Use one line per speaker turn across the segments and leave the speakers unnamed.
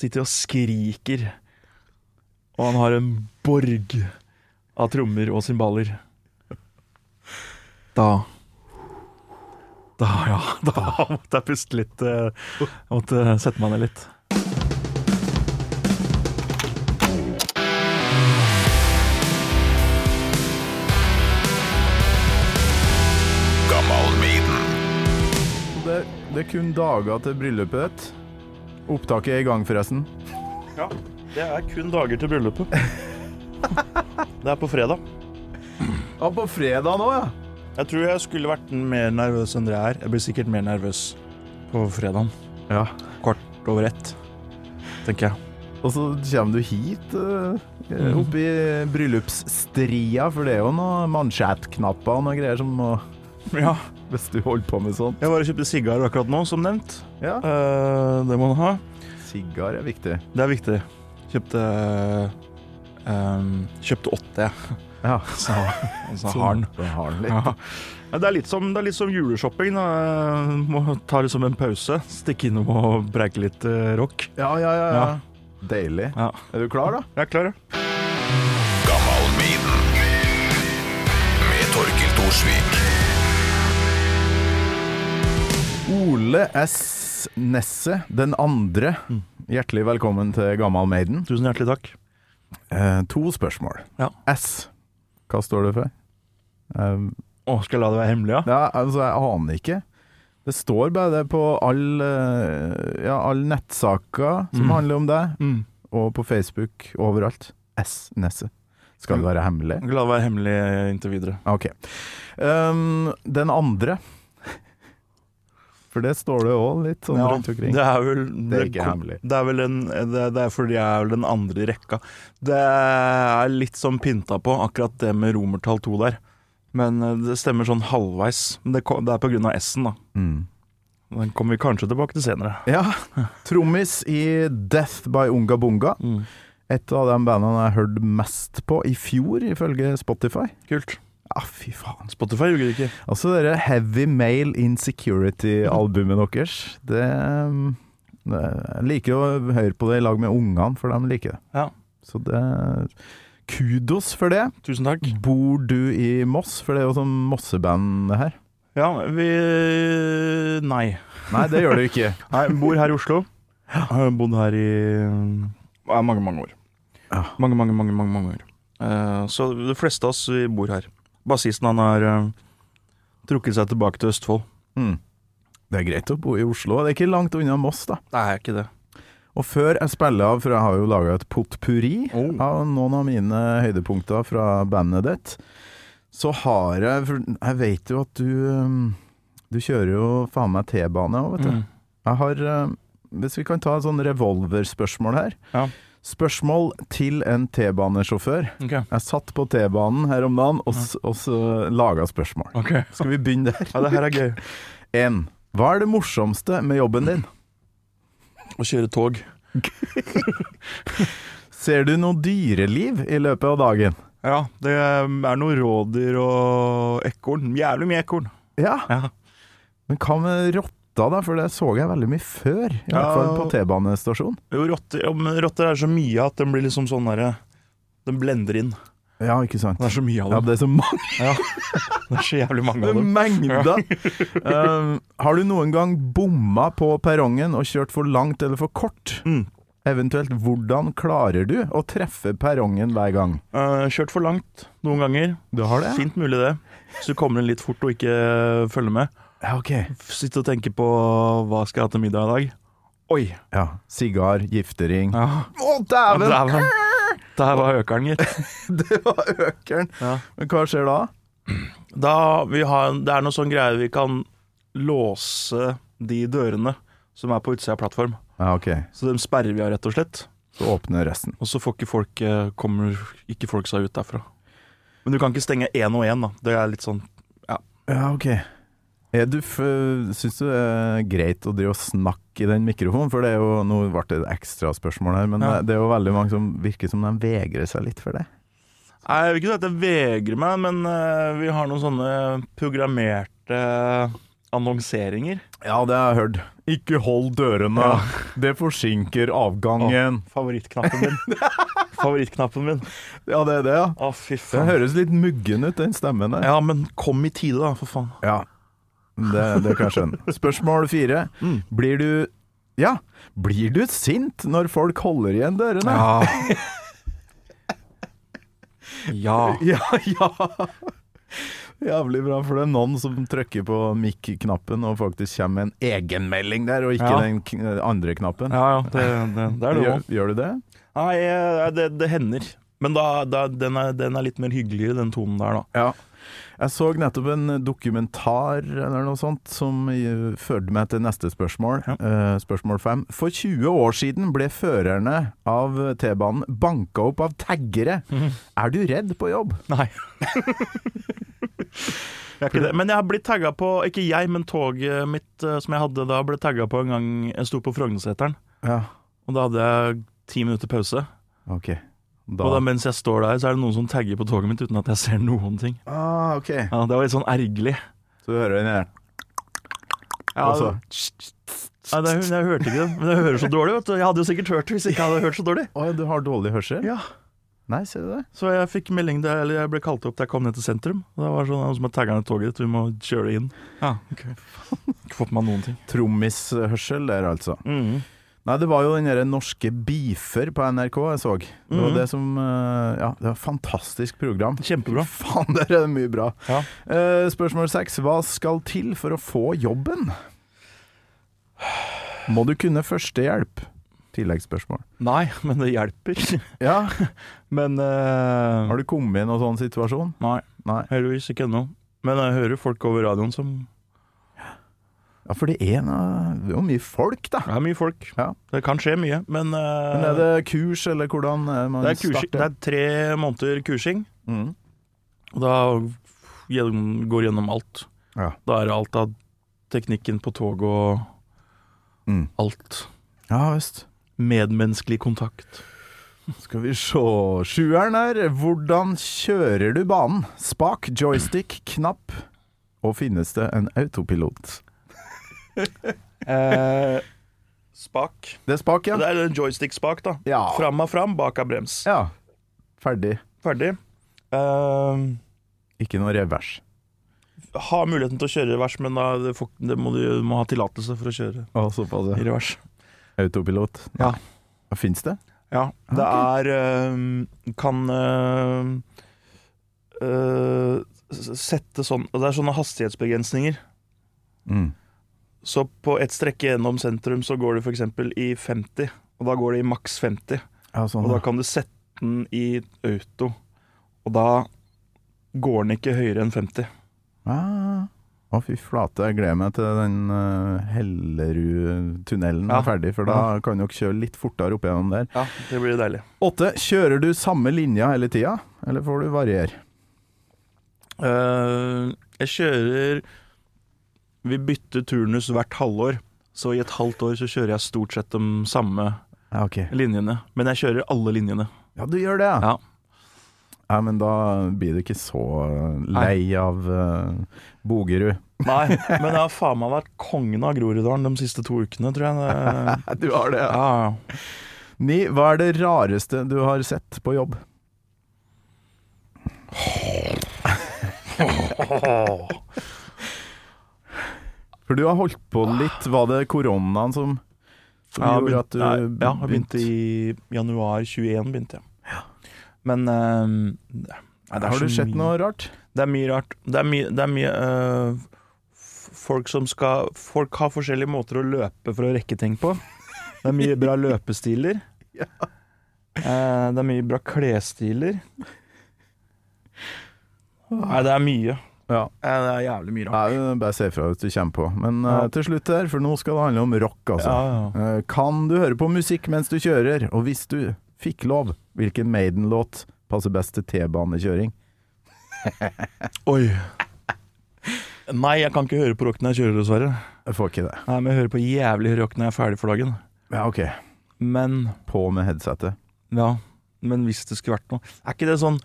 Sitter og skriker. Og han har en borg av trommer og cymbaler. Da Da, ja. Da måtte jeg puste litt. eh, Jeg måtte sette meg ned litt.
Det, det er kun dager til bryllupet ditt. Opptaket er i gang, forresten.
Det er kun dager til bryllupet. Det er på fredag.
Ja, på fredag nå, ja.
Jeg tror jeg skulle vært mer nervøs enn dere er. Jeg blir sikkert mer nervøs på fredagen.
Ja.
Kvart over ett, tenker jeg.
Og så kommer du hit, eh, opp i bryllupsstria, for det er jo noen mansjettknapper og noe greier som må
Ja,
Hvis du holder på med sånn.
jeg bare kjøpte sigar akkurat nå, som nevnt.
Ja.
Eh, det må man ha.
Sigar er viktig.
Det er viktig. Kjøpte eh, Kjøpte åtte, jeg.
Ja.
Så, så har den.
Da har den litt.
Ja. Ja, Det er litt som, det er litt som juleshopping. Da. Eh, Må ta liksom en pause, stikke innom og breike litt eh, rock.
Ja, ja, ja. ja. Deilig.
Ja.
Er du klar, da?
Jeg er klar, ja.
Ole S. Nesse den andre. Hjertelig velkommen til Gammal Maiden.
Tusen hjertelig takk.
Eh, to spørsmål.
Ja.
S. Hva står det for? Eh,
Å, skal jeg la det være hemmelig, ja?
ja, altså, jeg aner ikke. Det står bare det på all, eh, ja, all nettsaker som
Mm.
handler om deg,
Mm.
og på Facebook overalt. S. Nesse. Skal det være hemmelig?
Jeg skal la det være hemmelig inntil videre.
Ok. Um, den andre. For det står det òg litt sånn rundt omkring.
det er vel
Det er ikke hemmelig.
Det er vel en, det, det er fordi jeg er vel den andre i rekka. Det er litt sånn pynta på, akkurat det med romertall 2 der. Men eh, det stemmer sånn halvveis. Men Det, ko- det er på grunn av S-en, da.
Mm.
Den kommer vi kanskje tilbake til senere.
Ja. Trommis i Death by Unga Bunga.
Mm.
Et av de bandene jeg hørte mest på i fjor, ifølge Spotify.
Kult.
Ja, fy faen.
Spotify ljuger ikke.
Altså, dere Heavy Male Insecurity-albumet deres, det um, Jeg liker å høre på det i lag med ungene, for de liker det.
Ja.
Så det Kudos for det.
Tusen takk.
Bor du i Moss? For det er jo sånn Mosseband her.
Ja, vi Nei.
Nei, det gjør du ikke.
Nei, bor her i Oslo. Har bodd her i eh, ja, mange, mange år.
Ja.
Mange, mange, mange, mange, mange år. Eh, så de fleste av oss vi bor her. Bassisten han har eh, trukket seg tilbake til Østfold.
Mm. Det er greit å bo i Oslo. Det er ikke langt unna Moss, da.
Det er ikke det.
Og før jeg spiller av, for jeg har jo laga et potpurri
Oh.
av noen av mine høydepunkter fra bandet ditt, så har jeg For jeg vet jo at du um, Du kjører jo faen meg T-bane òg, vet du.
Mm.
Jeg har um, Hvis vi kan ta et sånn revolverspørsmål her.
Ja.
Spørsmål til en T-banesjåfør.
Ok.
Jeg satt på T-banen her om dagen og, s- og så laga spørsmål.
Ok.
Skal vi begynne der?
Ja, det her er gøy.
1. Hva er det morsomste med jobben din?
Å kjøre tog.
Ser du noe dyreliv i løpet av dagen?
Ja, det er noe rådyr og ekorn. Jævlig mye ekorn.
Ja.
Ja.
Men hva med rotta, da? For det så jeg veldig mye før. I hvert
Ja.
fall på T-banestasjonen.
Jo, rotter, ja, men rotter er så mye at den blir liksom sånn derre Den blender inn.
Ja, ikke sant.
Det er så mye av
Ja,
dem.
det er så mange
Det er så jævlig mange av dem.
mengder! um, har du noen gang bomma på perrongen og kjørt for langt eller for kort?
Mm.
Eventuelt, hvordan klarer du å treffe perrongen hver gang?
Eh, kjørt for langt noen ganger.
Du har det?
Fint mulig det. Hvis du kommer inn litt fort og ikke følger med.
Ja, ok.
Sitte og tenke på hva skal jeg ha til middag i dag. Oi!
Ja. Sigar, giftering Å,
Ja.
dæven!
Dæven. Der var økeren, gitt.
Det var økeren!
Ja.
Men hva skjer da?
Da vi har, det er noe sånn greier vi kan låse de dørene som er på utsida av plattform.
Ja, ok.
Så dem sperrer vi av, rett og slett.
Så åpner resten.
Og så får ikke folk, eh, kommer ikke folk seg ut derfra. Men du kan ikke stenge én og én, da. Det er litt sånn
Ja, ok. Er du f Syns du det er greit å drive og snakke i den mikrofonen? For det er jo Nå ble det et ekstraspørsmål her, men
Ja.
det, det er jo veldig mange som virker som de vegrer seg litt for det.
Nei, jeg vil ikke si at jeg vegrer meg, men eh, vi har noen sånne programmerte annonseringer.
Ja, det har jeg hørt. Ikke hold dørene, det forsinker avgangen.
Favorittknappen min. Favorittknappen min.
Ja, det er det, ja.
Å, fy
Det
faen.
høres litt muggen ut, den stemmen der.
Ja, men kom i tide, da, for faen.
Ja, det, det kan jeg skjønne. Mm. Spørsmål fire. Blir du Ja, blir du sint når folk holder igjen dørene?
Ja. ja.
Ja, ja. Jævlig bra, for det er noen som trykker på mikk-knappen og faktisk kommer med en egenmelding der, og ikke
Ja.
den k- andre knappen.
Ja, ja, det, det, det er det
gjør,
òg.
gjør du det?
Nei, eh, det, det hender. Men da, da, den, er, den er litt mer hyggeligere, den tonen der, da.
Ja. Jeg så nettopp en dokumentar eller noe sånt som eh, førte meg til neste spørsmål.
Ja.
Eh, spørsmål fem. For 20 år siden ble førerne av T-banen banka opp av taggere. Er du redd på jobb?
Nei. jeg er ikke det. Men jeg har blitt tagga på Ikke jeg, men toget mitt eh, som jeg hadde da, ble tagga på en gang jeg sto på Frognerseteren.
Ja.
Og da hadde jeg ti minutter pause.
Ok.
Og da
Da.
mens jeg står der, så er det noen som tagger på toget mitt uten at jeg ser noen ting.
Ah, ok.
Ja, Det var litt sånn ergerlig.
Så du hører den der.
Ja,
Og så-
Nei, det, jeg hørte ikke det. Men jeg hører så dårlig, vet du. Jeg hadde jo sikkert hørt det hvis jeg ikke hadde hørt så dårlig.
Å ja, du har dårlig hørsel?
Ja,
Nei, ser du det?
Så jeg fikk melding der, eller jeg ble kalt opp da jeg kom ned til sentrum. Og da var det sånn, noen som har tagga ned toget ditt, vi må kjøre det inn. Ja, ok. Ikke fått med meg noen ting.
Trommishørsel der, altså. Nei, det var jo den derre norske beefer på NRK jeg så. Det var
Mhm.
det som eh, Ja, det var et fantastisk program.
Kjempebra.
Faen, der er det mye bra.
Ja.
Eh, spørsmål seks. Hva skal til for å få jobben? Må du kunne førstehjelp? Tilleggsspørsmål.
Nei, men det hjelper.
Ja,
Men eh,
har du kommet i noen sånn situasjon?
Nei,
Nei.
heldigvis ikke ennå. Men jeg hører folk over radioen som
Ja, for det er, noe, det er jo mye folk, da.
Det er mye folk.
Ja.
Det kan skje mye, men, eh,
Men er det kurs, eller hvordan eh, man
det er kursing. Det
starter?
er tre måneder kursing,
Mhm.
og da gjennom- går gjennom alt.
Ja.
Da er det alt av teknikken på tog og
Mm.
alt.
ja visst.
Medmenneskelig kontakt.
Skal vi se Sjueren her. Hvordan kjører du banen? Spak, joystick, knapp. Og finnes det en autopilot?
spak.
Det er spak, ja.
Eh, Det er en joystick-spak, da.
Ja.
Fram er fram, bak er brems.
ja. Ferdig.
Ferdig. Eh,
Ikke noe revers.
ha muligheten til å kjøre i revers, men da det får, det må du du må ha tillatelse for å kjøre
Å, såpass,
i revers.
Autopilot.
Ja.
Fins det?
Ja, det er eh, Kan eh, eh, s- sette sånn Det er sånne hastighetsbegrensninger.
Mm.
Så på et strekke gjennom sentrum så går det f.eks. i 50, og da går det i maks 50.
Ja, sånn,
Og da
ja.
kan du sette den i auto, og da går den ikke høyere enn 50.
Ah. Å, fy flate. Jeg gleder meg til den uh, Hellerud-tunnelen
Ja.
er ferdig, for da kan dere kjøre litt fortere opp gjennom der.
Ja, det blir deilig.
Åtte. Kjører du samme linja hele tida, eller får du variere?
Eh, jeg kjører Vi bytter turnus hvert halvår, så i et halvt år så kjører jeg stort sett de samme
Ja, ok.
linjene. Men jeg kjører alle linjene.
Ja, du gjør det, ja.
Ja.
Ja, men da blir du ikke så lei av eh, Bogerud.
Nei, men jeg har faen meg vært kongen av Groruddalen de siste to ukene, tror jeg. Det-
Du har det,
Ja, ja.
Ni, hva er det rareste du har sett på jobb? For du har holdt på litt. Var det koronaen som, som
Ja,
gjorde at du
nei, ja, jeg begynte i januar 21, begynte jeg. Men eh, det- nei, det er
Har
så
du sett
mye-
noe rart?
Det er mye rart. Det er mye, det er mye eh, f- Folk som skal Folk har forskjellige måter å løpe for å rekke ting på. Det er mye bra løpestiler. Eh, det er mye bra klesstiler. Nei, det er mye.
Ja.
Eh, Det er jævlig mye rart.
Nei, bare se fra hvis du kommer på. Men eh,
Ja.
til slutt her, for nå skal det handle om rock, altså.
Ja,
Eh, kan du høre på musikk mens du kjører? Og hvis du fikk lov, hvilken Maiden-låt passer best til T-banekjøring?
Oi. Nei, jeg kan ikke høre på rock når jeg kjører, dessverre.
Jeg får ikke det.
Nei, men jeg hører på jævlig rock når jeg er ferdig for dagen.
Ja, OK.
Men
På med headsetet.
Ja, men hvis det skulle vært noe Er ikke det sånn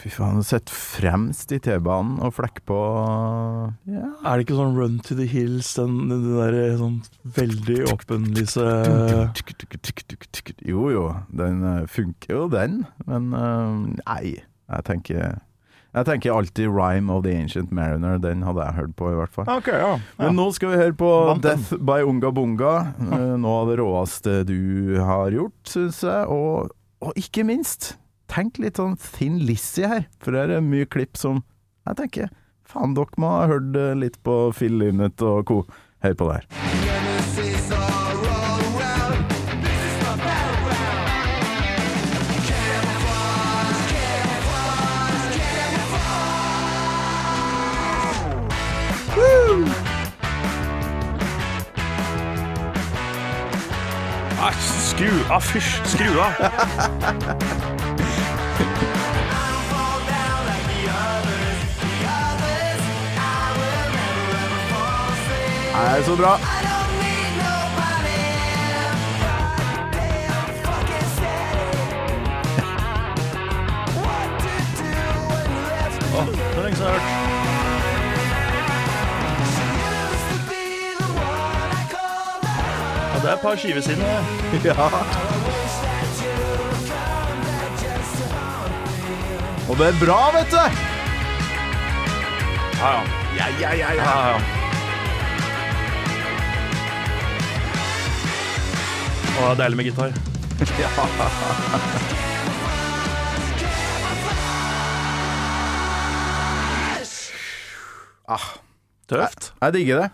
Fy faen, sett fremst i T-banen og flekk på Ja.
Er det ikke sånn Run to the Hills, den, den der sånn veldig åpenlyse
eh, Jo jo, den eh, funker jo, den. Men eh, nei, jeg tenker Jeg tenker alltid 'Rhyme of the Ancient Mariner'. Den hadde jeg hørt på, i hvert fall.
Ok, ja.
Men nå skal vi høre på
Vant den.
Death by Unga Bunga. Eh, Noe av det råeste du har gjort, syns jeg. Og, og ikke minst, tenk litt sånn Thin Lizzie her. For det er eh, mye klipp som jeg tenker Faen, dere må ha hørt eh, litt på Phil Lynnet og co. Hør på det her.
Æsj, skru av, fysj, skru av!
Det er så bra.
Åh, det er lenge siden jeg har hørt. Ja, det er et par skiver siden. det.
Ja. Og det er bra, vet du!
Ja, ja.
Ja, ja, ja,
ja,
ja.
ja. Åh, det er deilig med gitar. Ah. Tøft.
Jeg digger det.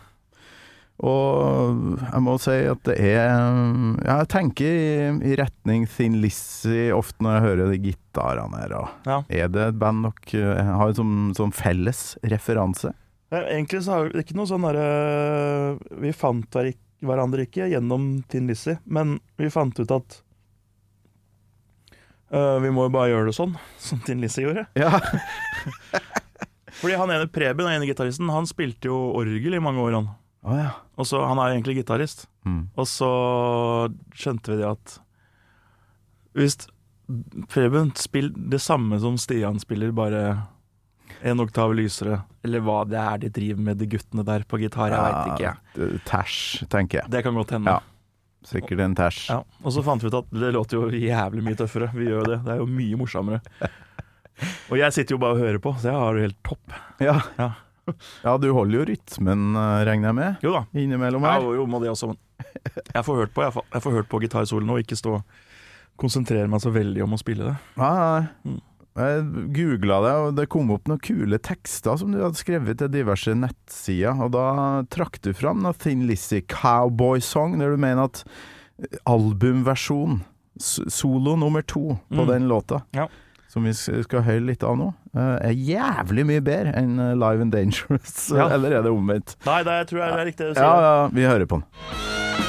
Og jeg må si at det er ja, Jeg tenker i, i retning Thin Lizzie ofte når jeg hører de gitarene her. Og
Ja.
Er det et band dere har som, som felles referanse?
Nei, Egentlig så har vi det er ikke noe sånn derre eh, Vi fant hver- hverandre ikke gjennom Tin Lizzie, men vi fant ut at øh, vi må jo bare gjøre det sånn, som Tin Lizzie gjorde.
Ja.
Fordi han ene Preben, den ene gitaristen, han spilte jo orgel i mange år, han.
Å ja.
Og så, Han er jo egentlig gitarist.
Mm.
Og så skjønte vi det at Hvis Preben spiller det samme som Stian spiller, bare en oktav lysere, eller hva det er de driver med, de guttene der på gitar, jeg veit ikke.
d- Tæsj, tenker jeg.
Det kan godt hende.
Ja.
Ah. Ja.
Sikkert en tæsj.
Og så fant vi ut at det låter jo jævlig mye tøffere. Vi gjør jo det. Det er jo mye morsommere. Og jeg sitter jo bare og hører på, så jeg har det helt topp.
Ja.
Ja.
Ja, du holder jo rytmen, eh, regner jeg med?
Jo da.
Innimellom
Ja,
her.
jo, jo, må det også, men jeg får hørt på, jeg får, jeg får hørt på gitarsoloen og ikke stå og konsentrere meg så veldig om å spille det.
Nei, nei.
Mm.
Jeg googla det, og det kom opp noen kule tekster som du hadde skrevet til diverse nettsider, og da trakk du fram noe Thin Lizzie Cowboy Song, der du mener at eh, albumversjon, s- solo nummer to på
Mm.
den låta,
Ja.
som vi s- skal høre litt av nå, eh, er jævlig mye bedre enn eh, Live and Dangerous,
Ja.
eller er det omvendt?
Nei, det tror jeg er riktig.
Ja, ja, vi hører på den.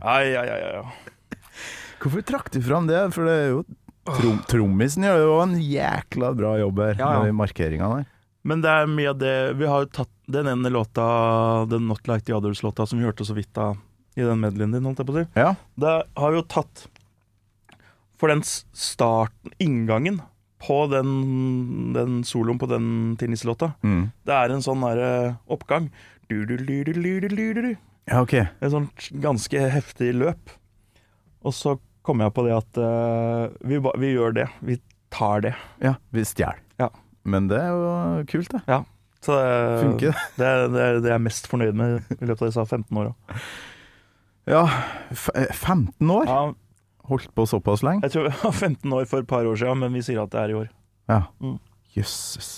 Ai, ai, ai, ai.
Hvorfor trakk du fram det? For det er jo trom, Trommisen gjør jo en jækla bra jobb her,
Ja, ja.
med de markeringene her.
Men det er mye av det Vi har jo tatt den ene låta, den Not Like The Others-låta, som vi hørte så vidt av i den medleyen din, holdt jeg på å si.
Ja.
Det har vi jo tatt For den s- starten, inngangen På den, den soloen på den tennislåta
Mm.
Det er en sånn der eh, oppgang Du-du-du-du-du-du-du-du.
Ja, ok.
En sånn ganske heftig løp Og så kom jeg på det at eh, vi, ba- vi gjør det, vi tar det
Ja, Eh. vi stjal.
Ja.
Men det er jo kult, det.
Så eh, det,
Funker det?
det, er- det er det jeg er mest fornøyd med i løpet av disse 15 årene
Ja, f eh, 15 år?
ja,
Holdt på såpass lenge?
Jeg tror jeg var 15 år for et par år siden Men vi sier at det er i år
Ja.
Mm.
Jøsses.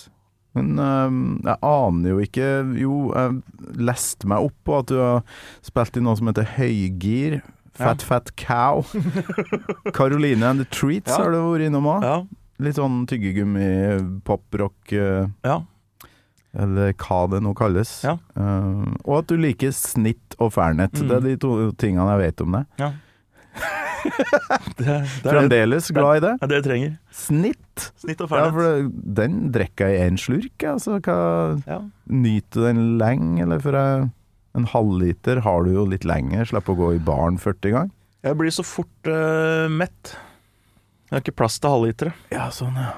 Men eh, jeg aner jo ikke Jo, jeg leste meg opp på at du har spilt i noe som heter Høygir. Fat Fat Cow. Caroline and the Treats
Ja.
har du vært innom òg.
Ja,
Litt sånn tyggegummi, poprock eh,
ja.
Eller hva det nå kalles.
Ja.
Eh, og at du liker snitt og fernet.
Mm.
Det er de to tingene jeg vet om deg.
Det, det er det,
Fremdeles glad i det.
det er det jeg trenger.
Snitt!
Snitt og
Ja, for
fernet.
det, den drikker jeg i én slurk. Altså, hva,
Ja.
nyter den lenge, eller for jeg, en halvliter har du jo litt lenger. Slipper å gå i baren 40 gang.
Jeg blir så fort eh, mett. Jeg har ikke plass til halvlitere.
Ja, sånn, ja.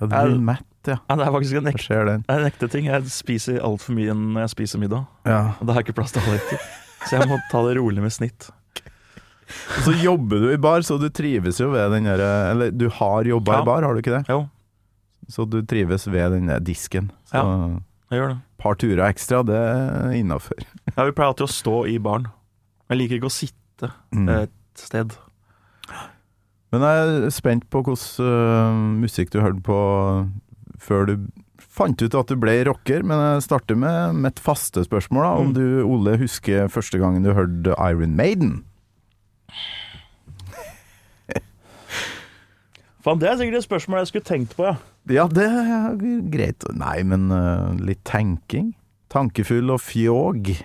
Ja, du
Er-
blir mett, ja.
Ja, det er faktisk en
Hva
ekte,
skjer den?
det er en ekte ting. Jeg spiser altfor mye når jeg spiser middag.
Ja.
Og det har jeg ikke plass til halvliter. Så jeg må ta det rolig med snitt.
Og så jobber du i bar, så du trives jo ved den der Eller du har jobba
Ja.
i bar, har du ikke det?
Jo.
Så du trives ved den der disken. Så
Jeg gjør det.
par turer ekstra, det er innafor.
Ja, vi pleier alltid å stå i baren. Jeg liker ikke å sitte
Mm.
eh, et sted.
Men jeg er spent på hvordan øh, musikk du hørte på før du fant ut at du ble rocker, men jeg starter med mitt faste spørsmål, da. Om
Mm.
du, Ole, husker første gangen du hørte Iron Maiden?
Faen, det er sikkert et spørsmål jeg skulle tenkt på, ja.
Ja, det er greit. Nei, men øh, litt tenking. Tankefull og fjåg.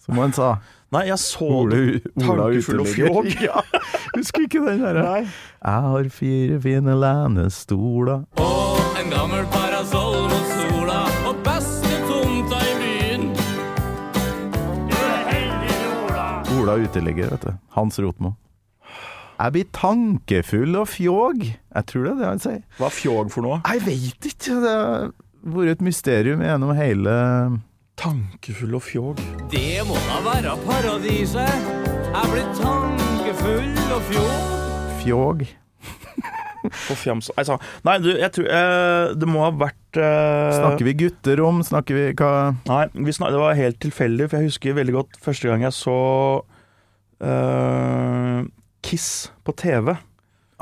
Som han sa.
Nei, jeg så det.
Ole, Ola
Tankefull og
uteligger.
fjåg.
Ja, husker ikke den der.
Nei.
Jeg har fire fine lenestoler.
Og en gammel parasoll mot sola Og beste tomta i byen
Ola uteligger, vet du. Hans Rotmo. Jeg blir tankefull og fjåg. Jeg tror det er det han sier.
Hva er fjåg for noe?
Jeg veit ikke. Det har vært et mysterium gjennom hele
Tankefull og fjåg.
Det må da være paradiset Jeg blir tankefull og fjord
fjåg.
For fjams. Nei, sa- Nei, du, jeg tror eh, Det må ha vært eh,
Snakker vi gutter om? Snakker vi hva
Nei, vi snak, det var helt tilfeldig, for jeg husker veldig godt første gang jeg så eh, Kiss på TV,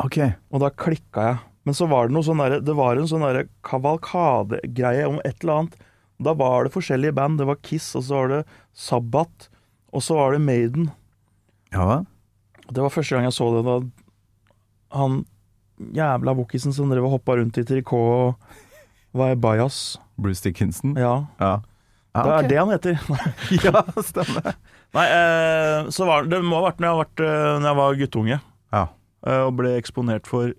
OK.
og da klikka jeg. Men så var det noe sånn derre Det var en sånn derre kavalkadegreie om et eller annet. Da var det forskjellige band. Det var Kiss, og så var det Sabbat, og så var det Maiden.
Ja hva?
Det var første gang jeg så det, da han jævla wokkisen som drev og hoppa rundt i trikot og var i bajas.
Bruce Dickinson?
Ja.
Ja.
Det er det han heter.
Ja, stemmer.
Nei, eh, så var, det må ha vært når jeg, har vært, eh, når jeg var guttunge
Ja.
eh, og ble eksponert for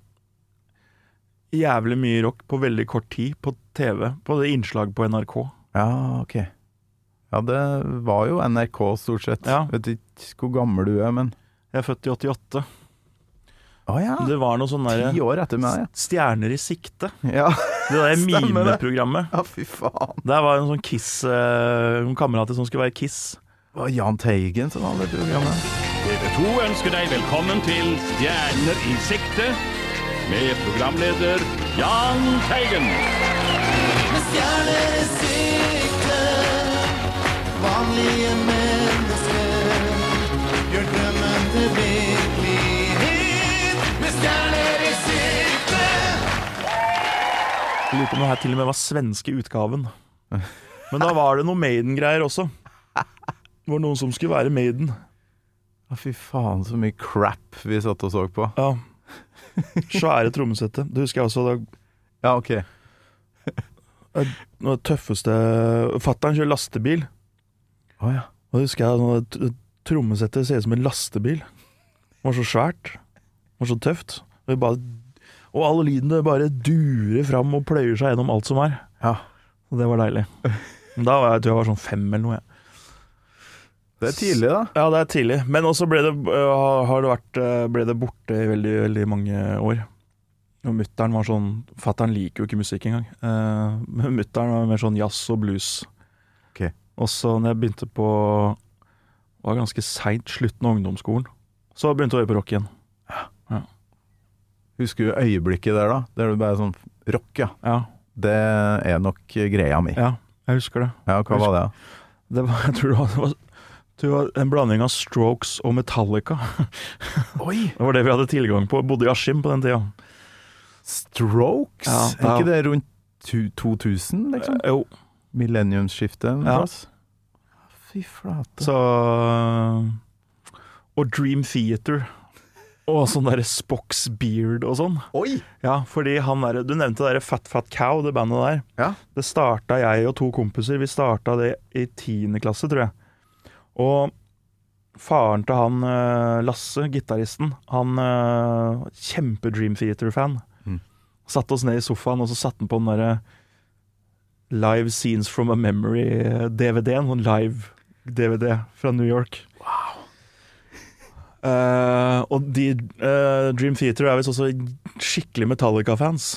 jævlig mye rock på veldig kort tid på TV, på det innslag på NRK.
ja, OK. Ja, det var jo NRK stort sett.
Ja.
Vet ikke hvor gammel du er, men
Jeg er født i 88.
Å ja.
Det var noe sånn
Ti
derre
år etter meg,
Stjerner i sikte.
ja.
Det der
Stemmer det.
mimeprogrammet.
Ja, fy faen.
Der var en sånn Kiss eh, Noen kamerater som skulle være Kiss.
Det var Jahn Teigen som hadde det programmet.
TV 2 ønsker deg velkommen til Stjerner i sikte med programleder Jahn Teigen.
med stjerner i sikte. Vanlige mennesker gjør drømmen til virkelighet. Med stjerner i sikte.
Jeg Lurer på om det her til og med var svenske utgaven. Men da var det noe Maiden-greier også. Det var noen som skulle være Maiden.
Ja, fy faen, så mye crap vi satt og så på.
Ja. Svære trommesettet. Det husker jeg også. Det
Ja, OK.
noe av det tøffeste Fattern kjører lastebil,
Å ja.
og det husker jeg sånn at t- trommesettet ser ut som en lastebil. Det var så svært. Det var så tøft. Og, vi bare, og alle lydene bare durer fram og pløyer seg gjennom alt som er.
Ja.
Og det var deilig. Men Da var jeg, jeg tror jeg var sånn fem eller noe. jeg.
Det er tidlig, da.
Ja, det er tidlig. Men også ble det, øh, har det vært, øh, ble det borte i veldig, veldig mange år. Og mutteren var sånn Fattern liker jo ikke musikk engang. Eh, Men mutteren var mer sånn jazz og blues.
Ok.
Og så når jeg begynte på Var ganske seint, slutten av ungdomsskolen, så begynte jeg å høre på rock igjen.
Husker du øyeblikket der, da? Der du bare sånn Rock, ja.
Ja,
Det er nok greia mi.
ja jeg husker det.
Ja, hva var det? da?
Det var, jeg tror det var, det var, jeg tror det var en blanding av Strokes og Metallica.
Oi!
Det var det vi hadde tilgang på. Jeg bodde i Askim på den tida.
Strokes?
Ja,
Er
ja.
ikke det rundt tu- 2000, liksom?
Jo.
Millenniumsskiftet en
Ja.
plass? Fy flate.
Så Og Dream Theater. Og sånn derre Spox Beard og sånn.
Oi!
Ja, fordi han der, Du nevnte det der Fat Fat Cow, det bandet der.
Ja.
Det starta jeg og to kompiser. Vi starta det i tiende klasse, tror jeg. Og faren til han eh, Lasse, gitaristen, han eh, kjempe Dream Theater-fan.
Mm.
Satte oss ned i sofaen, og så satte han på den derre Live Scenes From A Memory-DVD-en. Sånn live-DVD fra New York. Wow. og de, eh, Dream Theater er visst også skikkelig Metallica-fans.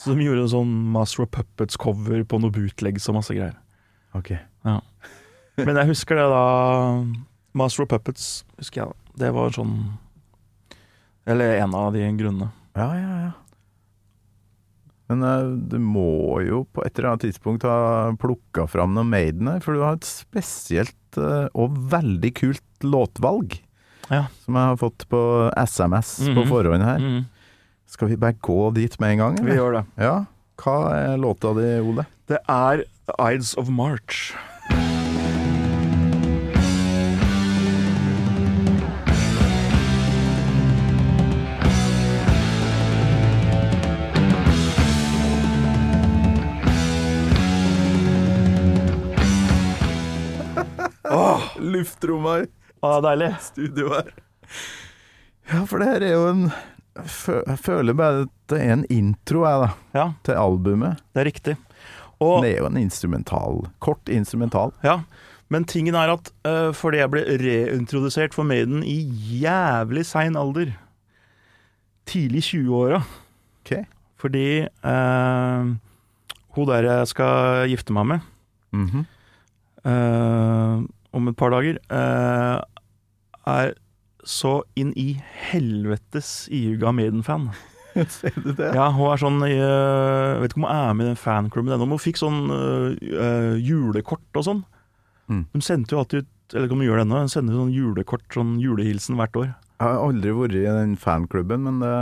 Så de gjorde en sånn Master of Puppets-cover på noe bootlegs og masse greier.
Ok.
Men jeg husker det da Master of Puppets, husker jeg da. Det var sånn Eller en av de grunnene.
Ja, ja, ja. Men eh, du må jo på et eller annet tidspunkt ha plukka fram noen Maiden her, for du har et spesielt eh, og veldig kult låtvalg.
Ja.
Som jeg har fått på SMS på
Mhm.
forhånd her.
Mm.
Skal vi bare gå dit med en gang? eller?
Vi gjør det.
Ja. Hva er låta di, Ole?
Det er Ides of March.
Luftrommet
Å, deilig.
studio her. Ja, for det her er jo en fø- Jeg føler bare at det er en intro, jeg, da.
Ja,
Til albumet.
det er riktig. Og,
Det er jo en instrumental. Kort instrumental.
ja, men tingen er at eh, fordi jeg ble reintrodusert for Maiden i jævlig sein alder, tidlig 20-åra,
OK.
fordi eh, hun der jeg skal gifte meg med
Mhm.
eh, om et par dager, eh, er så inn i helvetes iuga Maiden-fan.
Ser du det?
Ja, hun er sånn eh, Vet ikke om hun er med i den fanklubben ennå, men hun fikk sånn eh, eh, julekort og sånn.
Mm.
Hun sendte jo alltid ut eller ikke om hun gjør det ennå, hun sender sånn julekort, sånn julehilsen hvert år.
Jeg har aldri vært i den fanklubben, men det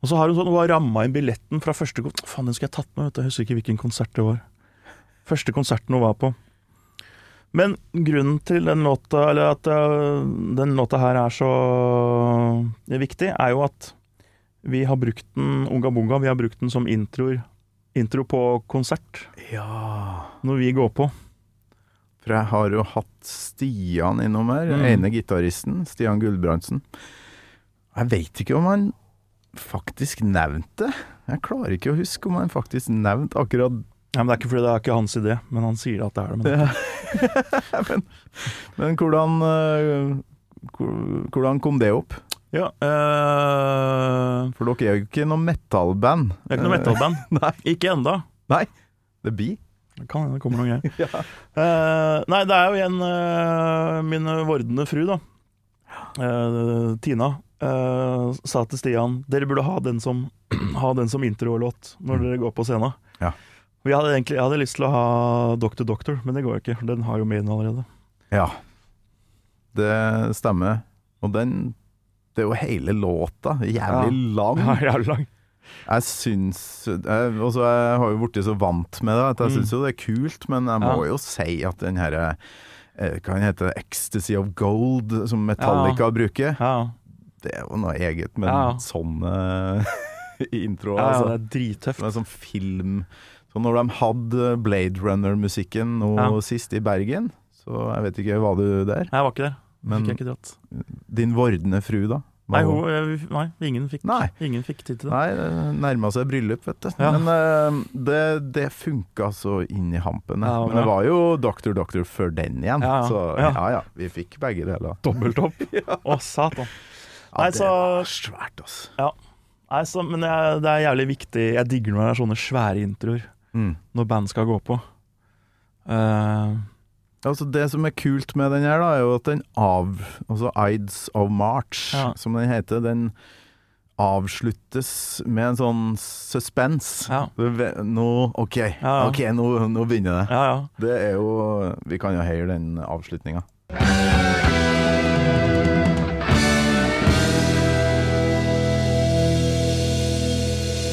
Og så har hun sånn, hun har ramma inn billetten fra første konsert Faen, den skulle jeg tatt med, vet du. Jeg husker ikke hvilken konsert det var. Første konserten hun var på. Men grunnen til den låta, eller at øh, den låta her er så viktig, er jo at vi har brukt den, Unga Bunga, vi har brukt den som introer. Intro på konsert,
Ja.
når vi går på.
For jeg har jo hatt Stian innom her,
Mm.
ene gitaristen, Stian Gulbrandsen. Jeg veit ikke om han faktisk nevnte det. Jeg klarer ikke å huske om han faktisk nevnte akkurat
Ja, men Det er ikke fordi det er ikke hans idé, men han sier at det er det. Men,
men, men hvordan eh, hvor- Hvordan kom det opp?
ja, øh,
For dere er jo ikke noe metallband.
det er ikke noe metalband.
Nei.
Ikke enda.
Det blir.
Det kan hende det kommer noen greier. Eh, nei, det er jo igjen eh, min vordende fru, da. Eh, Tina eh, sa til Stian dere burde ha den som, ha den som introlåt når dere går på scenen.
Ja.
Vi hadde egentlig, jeg hadde lyst til å ha Doctor Doctor, men det går jo ikke. for Den har jo Maiden allerede.
Ja. Det stemmer. Og den Det er jo hele låta. Jævlig lang.
Ja, jævlig lang.
Jeg syns jeg, altså jeg har jo blitt så vant med det at jeg syns jo det er kult, men jeg må
Mm. Ja.
jo si at den herre eh, Hva den heter Ecstasy of Gold, som Metallica bruker.
Ja,
Det er jo noe eget, men
Ja.
sånne introer,
ja, ja, det
altså.
er drittøft.
Det er sånn film Så når de hadde Blade Runner-musikken nå
Ja.
sist i Bergen, så jeg vet ikke var du der,
Jeg var ikke der.
men
Fikk jeg ikke dratt.
din vordende fru, da? var
Nei,
hun-
hun, eh, nei ingen, fikk,
Nei.
ingen fikk tid til det.
Nei, det nærma seg bryllup, vet du.
Ja.
Men eh, det, det funka så inn i hampen.
Ja,
Men det
bra.
var jo Dr. Doctor før den igjen,
Ja, ja.
så
Ja.
ja ja, vi fikk begge deler.
Dobbelt opp. Å, satan.
Ja,
Nei,
det
så-
var svært, altså.
Nei, så, men jeg, det er jævlig viktig. Jeg digger når det er sånne svære introer
Mm.
når band skal gå på. Eh,
Altså, det som er kult med den her, da, er jo at den av Altså Ides of March,
Ja.
som den heter, den avsluttes med en sånn suspens.
Ja.
Du ve- Nå OK,
ja.
ok, nå, nå begynner det.
ja, ja.
Det er jo Vi kan jo heie den avslutninga.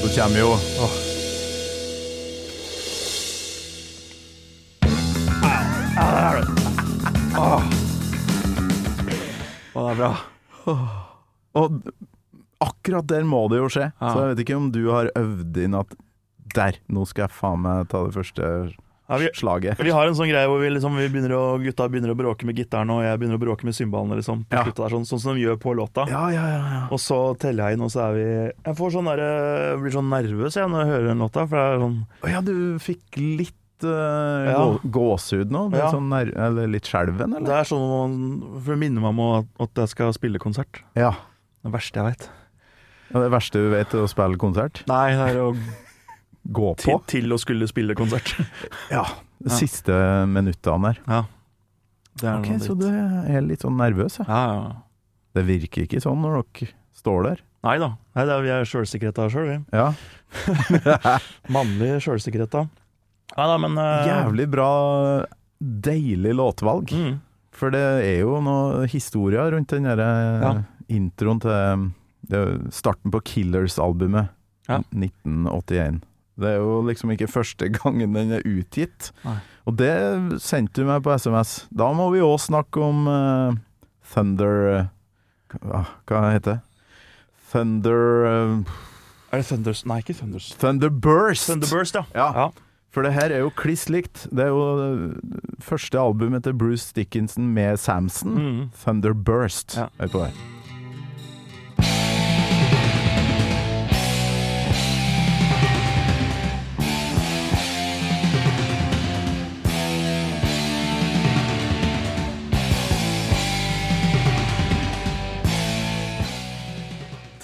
Så Så kommer jo åh.
Å, det er bra.
Og akkurat der må det jo skje.
Ja.
Så jeg vet ikke om du har øvd inn at der, nå skal jeg faen meg ta det første
Ja, vi,
slaget.
vi har en sånn greie hvor vi liksom, vi begynner å, gutta begynner å bråke med gitaren, og jeg begynner å bråke med cymbalene. Liksom, på
Ja.
sluttet der, sånn, sånn som de gjør på låta.
Ja, ja, ja, ja.
Og så teller jeg inn, og så er vi Jeg får sånn der, jeg blir sånn nervøs jeg når jeg hører den låta. For det er sånn
Å ja, du fikk litt eh,
Ja.
gå gåsehud nå? Litt,
Ja.
sånn nær, eller litt skjelven,
Det
eller?
er sånn man- For det minner meg om at- at jeg skal spille konsert.
Ja.
Det verste jeg veit.
Ja, Det verste du vet er å spille konsert?
Nei, det er å
Gå
til,
på?
til å skulle spille konsert.
Ja. De siste minuttene der.
Det er
Ok,
noe
så
dritt.
du er litt sånn nervøs, ja.
Ja, ja.
Det virker ikke sånn når dere står der.
Nei da. Nei, det er, vi er sjølsikkerhet av oss sjøl, vi.
Ja.
Mannlig sjølsikkerhet, da. Nei da, men eh,
Jævlig bra, deilig låtvalg.
Mm.
For det er jo noen historier rundt den der
Ja.
introen til eh, starten på Killers-albumet
Ja.
1981. Det er jo liksom ikke første gangen den er utgitt.
Nei.
Og det sendte du meg på SMS. Da må vi òg snakke om eh, Thunder eh, Hva hva heter det? Thunder eh,
Er det Thunders Nei, ikke Thunders.
Thunderburst!
Thunderburst, ja.
Ja.
Ja.
For det her er jo kliss likt. Det er jo det første albumet til Bruce Dickinson med Samson.
Mm.
Thunderburst.
Ja.
Hør på det.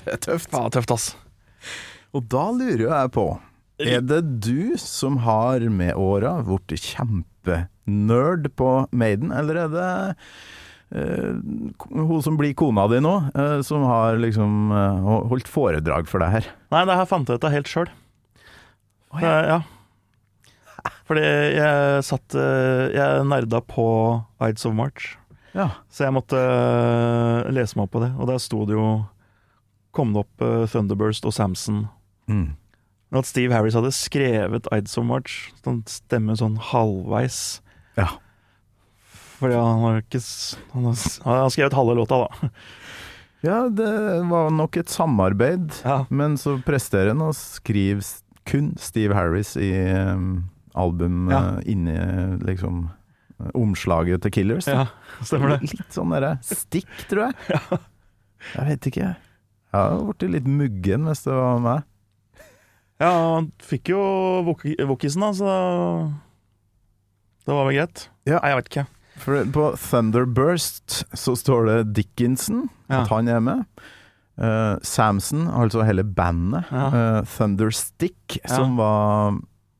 Det er tøft.
Faen, tøft, ass.
Og da lurer jeg på Er det du som har med åra blitt kjempenerd på Maiden, eller er det eh, hun som blir kona di nå, eh, som har liksom eh, holdt foredrag for deg her?
Nei, det her fant jeg ut av helt sjøl. ja. Fordi jeg satt eh, Jeg nerda på Ides of March,
Ja.
så jeg måtte eh, lese meg opp på det. Og der sto det jo Kom det opp eh, Thunderburst og Samson.
Mm.
Men At Steve Harris hadde skrevet Ides of March, sånn stemme sånn halvveis.
ja.
Fordi han har ikke s- Han har, s- han har skrevet halve låta, da.
Ja, det var nok et samarbeid,
Ja.
men så presterer han å skrive s- kun Steve Harris i eh, album
Ja.
eh, inni eh, liksom eh, omslaget til Killers. da.
Stemmer det.
Litt sånn derre stikk, tror jeg. Jeg vet ikke. Jeg hadde blitt litt muggen hvis det var meg.
Ja, han fikk jo vok- vokisen, da, så Det var vel greit?
Ja.
Nei, jeg vet ikke.
For på Thunderburst så står det Dickinson,
Ja.
at han er med. Eh, Samson, altså hele bandet.
Ja.
Eh, Thunderstick, som var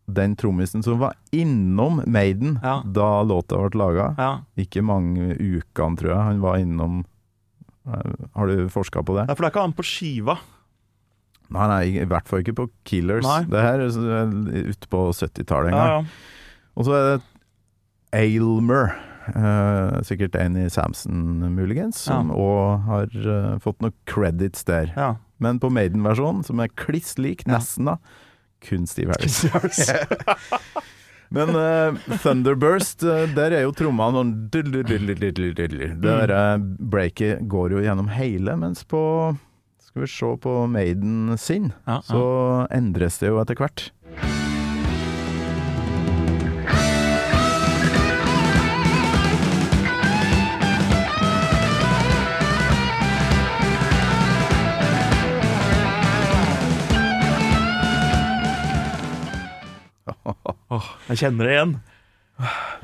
den trommisen som var innom Maiden
Ja.
da låta ble laga.
Ja.
Ikke mange ukene, tror jeg, han var innom Eh, Har du forska på det?
Ja, for det er ikke han på skiva.
Nei, nei, i hvert fall ikke på Killers.
Nei.
Det her er så- ute på 70-tallet en gang.
Ja, ja.
Og så er det Aylmer. eh, sikkert en i Samson, muligens, som
Ja.
òg har eh, fått noen credits der.
ja.
Men på Maiden-versjonen, som er kliss lik, nesten, da, kun Steve Harris. Men eh, Thunderburst, eh, der er jo tromma noen
Mm.
Det derre breaket går jo gjennom hele, mens på Skal vi se på Maiden sin,
Ja,
så endres det jo etter hvert.
Jeg kjenner det igjen.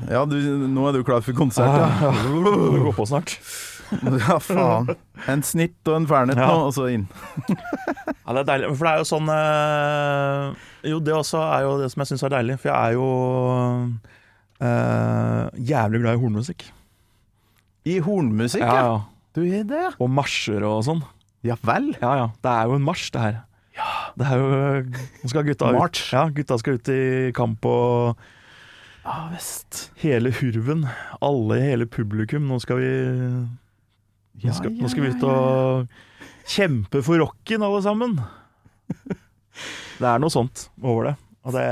Ja, du, nå er du klar for konsert, ja.
Det går på snart.
Ah, Ja, faen. En snitt og en fernet
Ja.
nå, og så inn.
Ja, det er deilig. For det er jo sånn eh, Jo, det også er jo det som jeg syns er deilig, for jeg er jo eh, jævlig glad i hornmusikk.
I hornmusikk,
Ja,
ja.
ja.
Du er det, ja.
Og marsjer og sånn.
Ja vel.
Ja, ja. Det er jo en marsj, det her. Det er jo Nå skal gutta ut.
March.
Ja, gutta skal ut i kamp og
Ja Ah, visst.
hele hurven. Alle i hele publikum. Nå skal vi Nå
Ja,
skal,
ja,
nå skal vi ut
ja, ja.
og kjempe for rocken, alle sammen. Det er noe sånt over det. Og det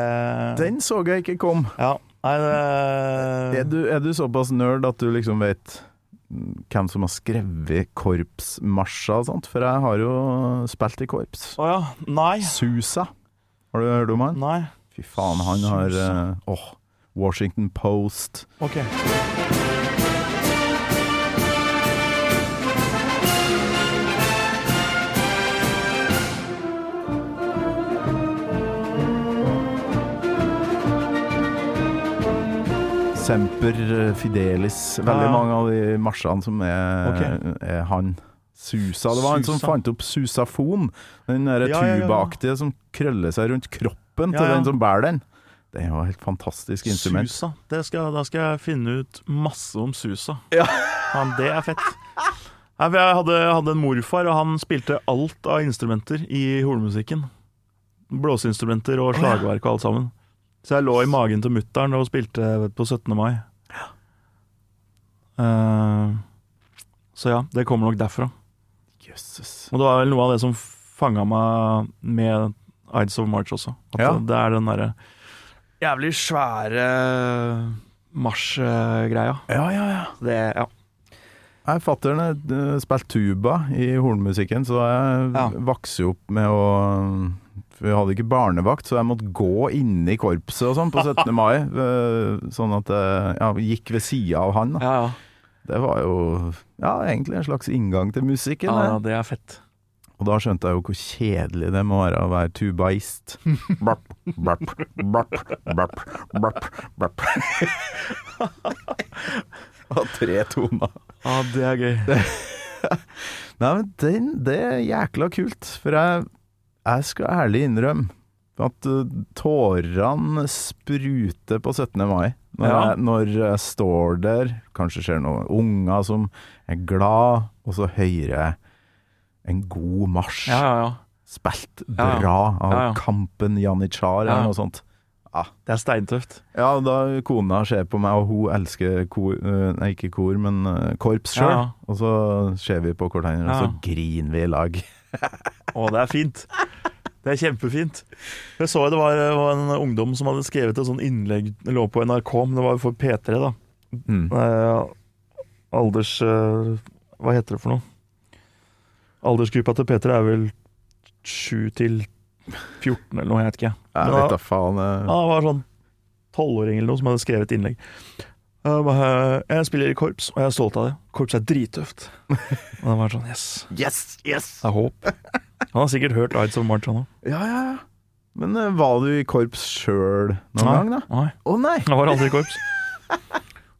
Den så jeg ikke kom.
Ja. Nei,
Er
det
du, er du såpass nerd at du liksom vet hvem som har skrevet korpsmarsjer og sånt? For jeg har jo spilt i korps.
Å ja. Nei.
Susa, har du hørt om han?
Nei.
Fy faen, han har
Susa.
eh, Åh, Washington Post.
Ok.
Semper eh, Fidelis.
Ja,
Veldig
ja.
mange av de marsjene som er,
Ok.
er han. Susa. Det var han som
Susa.
fant opp susafon. Den
Ja, ja,
der
ja, ja.
tubaaktige som krøller seg rundt kroppen
Ja,
til
ja.
den som bærer den. Det er jo et helt fantastisk instrument.
Susa. Det skal, da skal jeg finne ut masse om Susa.
Ja.
Faen, det er fett. Nei, for Jeg hadde, jeg hadde en morfar, og han spilte alt av instrumenter i hornmusikken. Blåseinstrumenter og slagverk og alt sammen. Så jeg lå i magen til mutter'n og spilte på 17. mai. Eh, så ja, det kommer nok derfra.
Jøsses.
Og det var vel noe av det som fanga meg med Ides of March også. At
Ja.
det er den derre jævlig svære marsjgreia.
Ja, ja, ja.
Det ja.
Jeg fatter'n eh, spilte tuba i hornmusikken, så jeg
Ja.
vokste jo opp med å for Vi hadde ikke barnevakt, så jeg måtte gå inne i korpset og sånn på 17. mai. eh, Sånn at jeg ja, gikk ved sida av han. da.
Ja, ja.
Det var jo ja, egentlig en slags inngang til musikken.
ja,
det.
det er fett.
Og da skjønte jeg jo hvor kjedelig det må være å være tubaist. Blapp, blapp, blapp, blapp, blapp, blapp. Og tre toner.
Ja, det er gøy.
Nei, men den, det er jækla kult, for jeg, jeg skal ærlig innrømme at uh, tårene spruter på 17. mai. Når,
Ja.
jeg, når jeg står der, kanskje ser noen unger som er glad, og så hører jeg en god marsj.
Ja, ja, ja.
Spilt bra
Ja, ja.
av
Ja, ja.
Kampen Janitsjar
Ja, ja.
eller noe sånt.
Det er steintøft.
Ja, og da kona ser på meg, og hun elsker kor, eh, nei, ikke kor, men eh, korps sjøl.
Ja, ja.
Og så ser vi på hverandre,
Ja.
og så griner vi i lag.
Å, det er fint. Det er kjempefint. Jeg så jo det var, var en ungdom som hadde skrevet et sånt innlegg det lå på NRK, men det var jo for P3, da.
Mm.
Eh, alders... eh, hva heter det for noe? Aldersgruppa til Peter er vel 7 til 14 eller noe, jeg vet ikke.
Jeg
Ja.
vet da faen. eh.
Ja, det var sånn tolvåring eller noe som hadde skrevet innlegg. Jeg, bare, jeg spiller i korps, og jeg er stolt av det. Korps er drittøft. Og det var sånn, yes.
Yes, yes!
Det er håp. Han har sikkert hørt Ides of March, han òg.
Ja, ja, ja. Men eh, var du i korps sjøl noen gang, da?
Nei,
Å nei!
jeg var aldri i korps.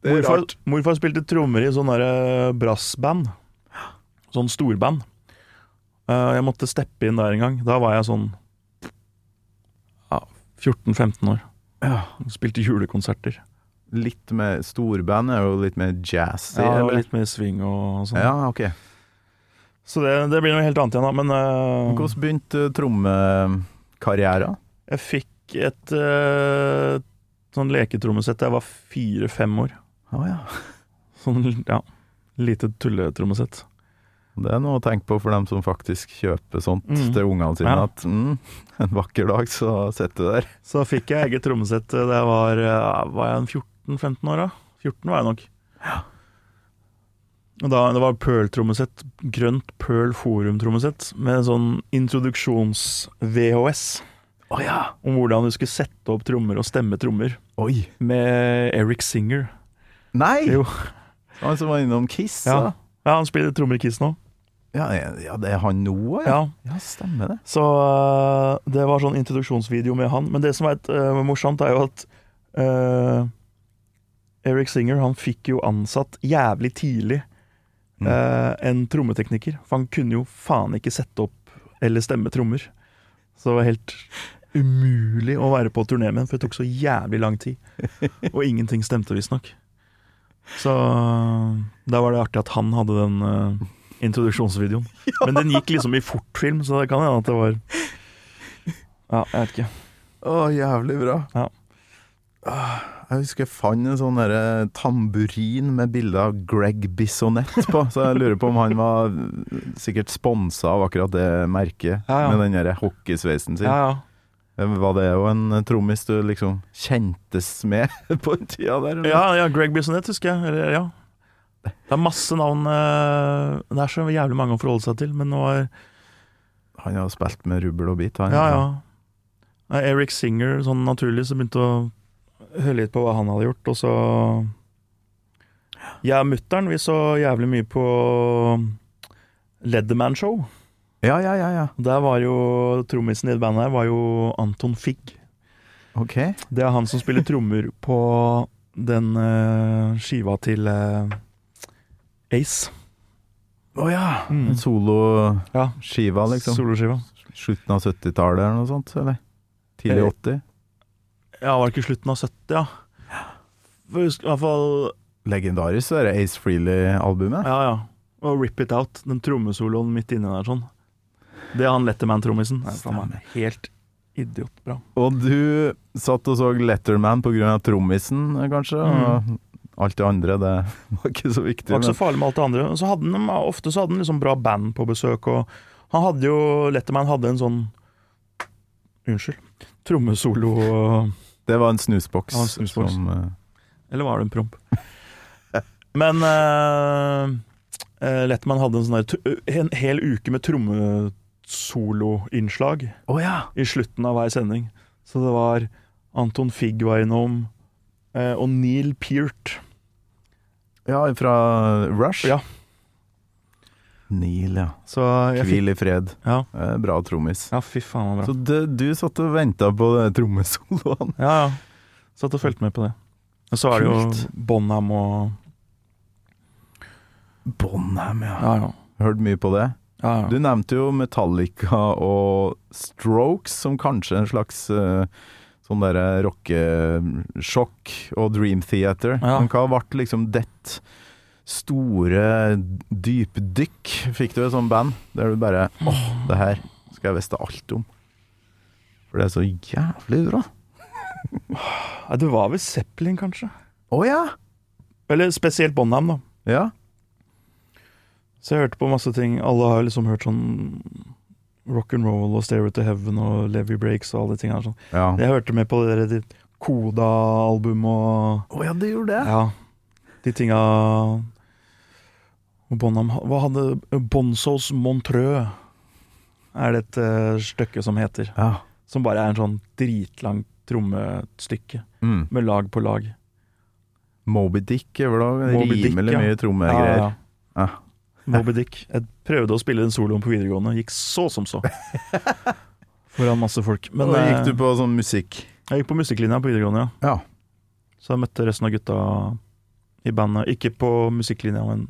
Det er
Morfar,
rart.
morfar spilte trommer i sånn derre brassband. Sånn storband. Eh, Jeg måtte steppe inn der en gang. Da var jeg sånn ja, 14-15 år.
Ja.
Spilte julekonserter.
Litt mer Storband er jo litt mer jazzy.
Ja, det
eller?
var litt mer swing og sånn.
ja ok.
Så det, det blir noe helt annet igjen, da. Men eh,
Hvordan begynte eh, trommekarrieren?
jeg fikk et eh, sånn leketrommesett da jeg var fire-fem år.
Å ja.
Sånn, ja. Lite tulletrommesett.
Det er noe å tenke på for dem som faktisk kjøper sånt
Mm.
til ungene sine.
Ja.
At mm, en vakker dag så sitter du der.
Så fikk jeg eget trommesett eh, da jeg var, eh, var jeg en 14-15 år, da. 14 var jeg nok. Og da, det var Pearl-trommesett. Grønt Pearl Forum-trommesett med sånn introduksjons-VHS.
Å ja!
Om hvordan du skulle sette opp trommer og stemme trommer.
Oi!
Med Eric Singer.
Nei!
Jo.
Han som var innom Kiss,
Ja,
ja.
ja han spiller trommer i Kiss nå.
Ja, er- ja, det er han nå, ja.
Ja,
Ja, stemmer det.
Så øh, det var sånn introduksjonsvideo med han. Men det som er et, øh, morsomt, er jo at øh, Eric Singer han fikk jo ansatt jævlig tidlig øh, en trommetekniker. For han kunne jo faen ikke sette opp eller stemme trommer. Så det var helt umulig å være på turné med, for det tok så jævlig lang tid. Og ingenting stemte, visstnok. Så øh, da var det artig at han hadde den øh, introduksjonsvideoen. Men den gikk liksom i fortfilm, så det kan hende at det var Ja, jeg vet ikke.
Å, jævlig bra.
Ja.
Åh, Jeg husker jeg fant en sånn derre tamburin med bilde av Greg Bissonette på, så jeg lurer på om han var sikkert sponsa av akkurat det merket,
Ja, ja.
med den derre hockeysveisen sin. Eh,
Ja, ja.
Var det jo en trommis du liksom kjentes med på den tida der? eller?
Ja, ja Greg Bissonette husker jeg. Eller, ja. Det er masse navn eh, Det er så jævlig mange å forholde seg til, men nå er
Han har spilt med rubbel og bit, han.
Ja, ja. Nei, Eric Singer, sånn naturlig, så begynte å høre litt på hva han hadde gjort, og så Jeg og mutter'n, vi så jævlig mye på Leatherman Show.
Ja, ja, ja. ja.
Der var jo trommisen i det bandet her var jo Anton Figg.
Ok.
Det er han som spiller trommer på den eh, skiva til eh, Ace.
Å ja.
Mm.
En soloskiva,
Ja,
liksom.
Soloskiva.
Slutten av 70-tallet eller noe sånt? Eller tidlig
Eh,
80?
Ja, var det ikke slutten av 70, ja? For jeg husker, I hvert fall
Legendarisk det der Ace Freely-albumet.
Ja, ja. Og Rip It Out, den trommesoloen midt inni der sånn. Det er han Letterman-trommisen. Nei, faen, han er Helt idiotbra.
Og du satt og så Letterman pga. trommisen, eh, kanskje? Og alt det andre, det var ikke så viktig.
Det Mm. var ikke
men-
så farlig med alt det andre. Og Så hadde han, ofte så hadde han liksom bra band på besøk, og han hadde jo Letterman hadde en sånn Unnskyld. Trommesolo
Det var en snusboks.
Det var en snusboks.
Som, eh,
Eller var det en promp? Men eh, eh, Letterman hadde en sånn der t- en hel uke med trommesoloinnslag.
Å ja!
i slutten av hver sending. Så det var Anton Figg var innom, eh, og Neil Peart.
Ja, fra Rush?
Ja.
Neil, ja.
Så eh, jeg fikk
Hvil i fred.
Ja.
Eh, Bra trommis.
Ja, fy faen, det var
Så
bra.
du, du satt og venta på det trommesoloen?
Ja, ja. Satt og fulgte med på det. Og så er det jo
Kult.
Bonham og
Bonham, ja.
Ja, ja.
Hørt mye på det?
ja,
Du
ja.
nevnte jo Metallica og Strokes som kanskje en slags eh, sånn derre rockesjokk, og Dream Theater.
Ja.
Men hva ble liksom dett store dypdykk? Fikk du et sånt band der du bare
Mm.
åh, det her skal jeg visste alt om. For det er så jævlig bra.
Nei, det var vel Zeppelin, kanskje.
Å ja!
Eller spesielt Bonham, da.
Ja.
Så jeg hørte på masse ting. Alle har liksom hørt sånn rock and roll og Stairway to Heaven og Levy Breaks og alle de tingene. her Sånn.
ja.
Jeg hørte med på det der Koda-albumet og
Å ja, det gjorde det.
Ja, de tinga Og Bonham Hva hadde Bonzos Montreux? Er det et eh, stykke som heter.
Ja.
Som bare er en sånn dritlangt trommestykke
Mm.
med lag på lag.
Moby Dick er vel da
Moby Dick,
rimelig
ja.
mye trommegreier.
Ja, ja.
Ja.
Moby Dick. Jeg prøvde å spille den soloen på videregående, gikk så som så. Foran masse folk. Men
og
eh,
gikk du på sånn musikk?
jeg gikk på musikklinja på videregående, ja.
Ja.
Så jeg møtte resten av gutta i bandet. Ikke på musikklinja, men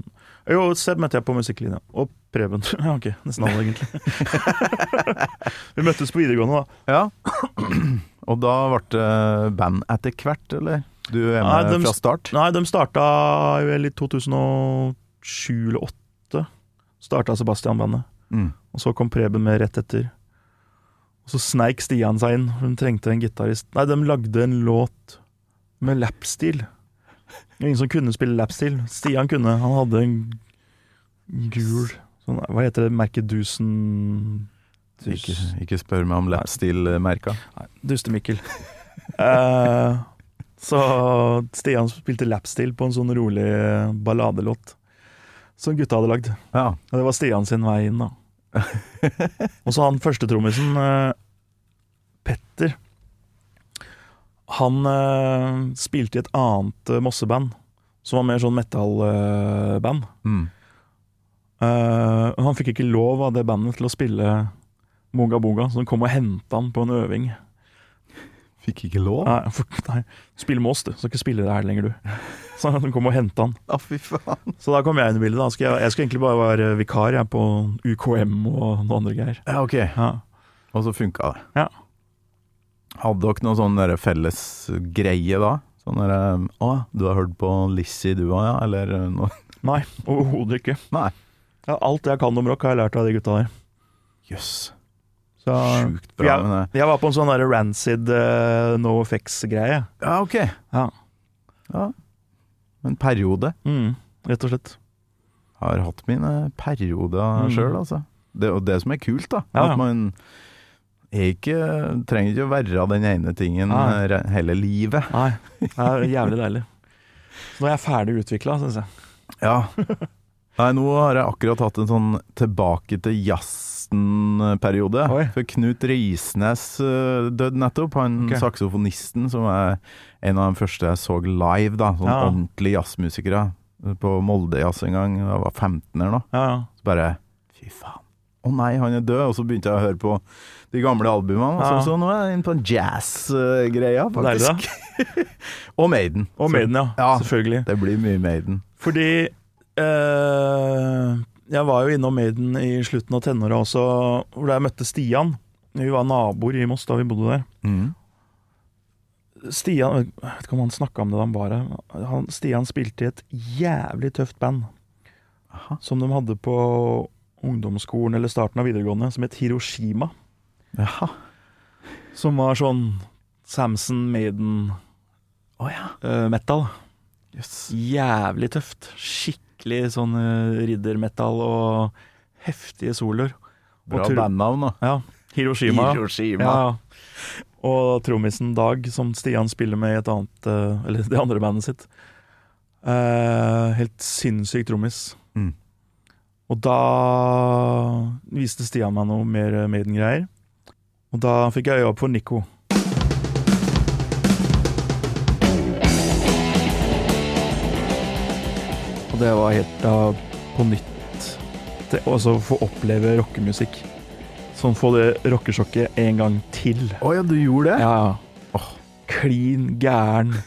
Jo, Seb møtte jeg på musikklinja. Og Preben. Ja, ok, Nesten alle, egentlig. Vi møttes på videregående, da.
Ja. Og da ble det band etter hvert, eller? Du er med
Nei, dem-
fra start?
Nei, de starta vel i 2007 eller 2008. Starta Sebastian-bandet.
Mm.
Og så kom Preben med rett etter. Og så sneik Stian seg inn. Hun trengte en gitarist. Nei, de lagde en låt med lapstil. Ingen som kunne spille lapstil. Stian kunne. Han hadde en gul sånn, Hva heter det merket Dusen
Ikke, ikke spør meg om Lapsteel-merka.
Dustemikkel. Eh, så Stian spilte lapstil på en sånn rolig balladelåt som gutta hadde lagd.
Ja.
Og det var Stian sin vei inn, da. og så han førstetrommisen, eh, Petter Han eh, spilte i et annet eh, Mosseband, som var mer sånn eh, metal-band.
Mm.
Eh, han fikk ikke lov av det bandet til å spille Monga Bonga, så de kom og henta han på en øving.
Fikk ikke lov?
Nei, for, nei. spill med oss, du. Skal ikke spille det her lenger, du. Sånn Så han kom og henta han.
Ja, fy faen.
Så da kom jeg inn i bildet. da Skal jeg, jeg skulle egentlig bare være vikar jeg, på UKM og noen andre greier.
Ja, ok.
Ja.
Og så funka det.
Ja.
Hadde dere noen sånn derre felles greie da? Sånn derre Å, du har hørt på Lizzie du òg, ja? Eller eh, noe?
Nei, overhodet ikke.
Nei.
Ja, alt jeg kan om rock, har jeg lært av de gutta der.
Jøss.
Så,
Sjukt bra.
jeg,
Men, det-
jeg var på en sånn der rancid eh, no effects-greie.
ja, ok.
Ja.
En periode.
Mm, rett og slett.
har eh, hatt mine perioder
Mm.
selv sjøl, altså. Det, og det som er kult, da.
Ja, ja.
At man er ikke, trenger ikke å være den ene tingen eh,
Nei.
re- hele livet.
Nei, det er jævlig deilig. Så nå er jeg ferdig utvikla, syns jeg.
Ja. Nei, nå har jeg akkurat hatt en sånn tilbake til jazzen-periode.
Oi.
For Knut Risnes eh, døde nettopp. Han
Ok.
saksofonisten som er en av de første jeg så live, da. Sånn
Ja.
ordentlige jazzmusikere. eh, På Molde Jazz en gang, da jeg var 15 eller noe.
Ja, ja.
Så bare Fy faen. Å nei, han er død. Og så begynte jeg å høre på de gamle albumene. og
Ja.
Så, så nå er jeg inne på en jazz-greia,
Deilig,
faktisk.
da.
Og Maiden.
Og
Så
Maiden, ja.
Ja.
Selvfølgelig.
Det blir mye Maiden.
Fordi eh, jeg var jo innom Maiden i slutten av tenåra også, hvor da jeg møtte Stian. Vi var naboer i Moss da vi bodde der.
Mm.
Stian jeg vet ikke om han snakka om det da han var her. Han, Stian spilte i et jævlig tøft band som de hadde på ungdomsskolen eller starten av videregående, som het Hiroshima.
Jaha.
Som var sånn Samson Maiden
Å ja.
eh, metal.
Jøss.
Jævlig tøft. Skikkelig sånn eh, riddermetal og heftige soloer.
Bra
tur-
bandnavn, da.
Ja. Hiroshima.
Hiroshima.
Ja, ja. Og trommisen Dag, som Stian spiller med i et annet eh, Eller det andre bandet sitt. Eh, helt sinnssyk trommis.
Mm.
Og da viste Stian meg noe mer eh, Maiden-greier. Og da fikk jeg øya opp for Nico. Og det var helt da på nytt det- Også å få oppleve rockemusikk. Sånn få det rockesjokket en gang til.
Å ja, du gjorde det?
Ja. Klin gæren,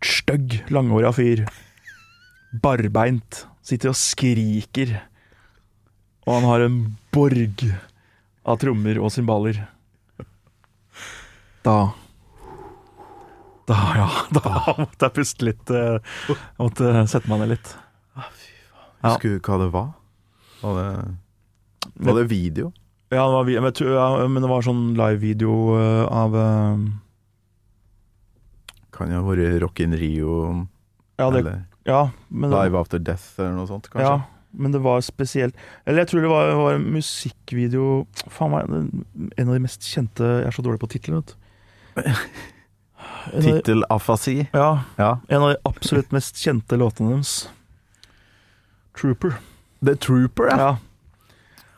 stygg, langhåra fyr. Barbeint. Sitter og skriker. Og han har en borg av trommer og cymbaler. Da Da, ja. Da måtte jeg puste litt. eh, Måtte sette meg ned litt. Ja.
Husker du hva det var? Var det, var det video?
Ja, det var, vi- men jeg tror- ja, men det var sånn live-video eh, av eh,
Kan jo ha vært Rock in Rio
Ja, det,
eller
ja men det,
Live After Death eller noe sånt, kanskje?
Ja, men det var spesielt Eller jeg tror det var, var en musikkvideo Faen meg, den- en av de mest kjente Jeg er så dårlig på titler, vet du. En av de-
Tittelafasi.
Ja,
Ja.
en av de absolutt mest kjente låtene deres. Trooper.
The Trooper, ja.
Ja,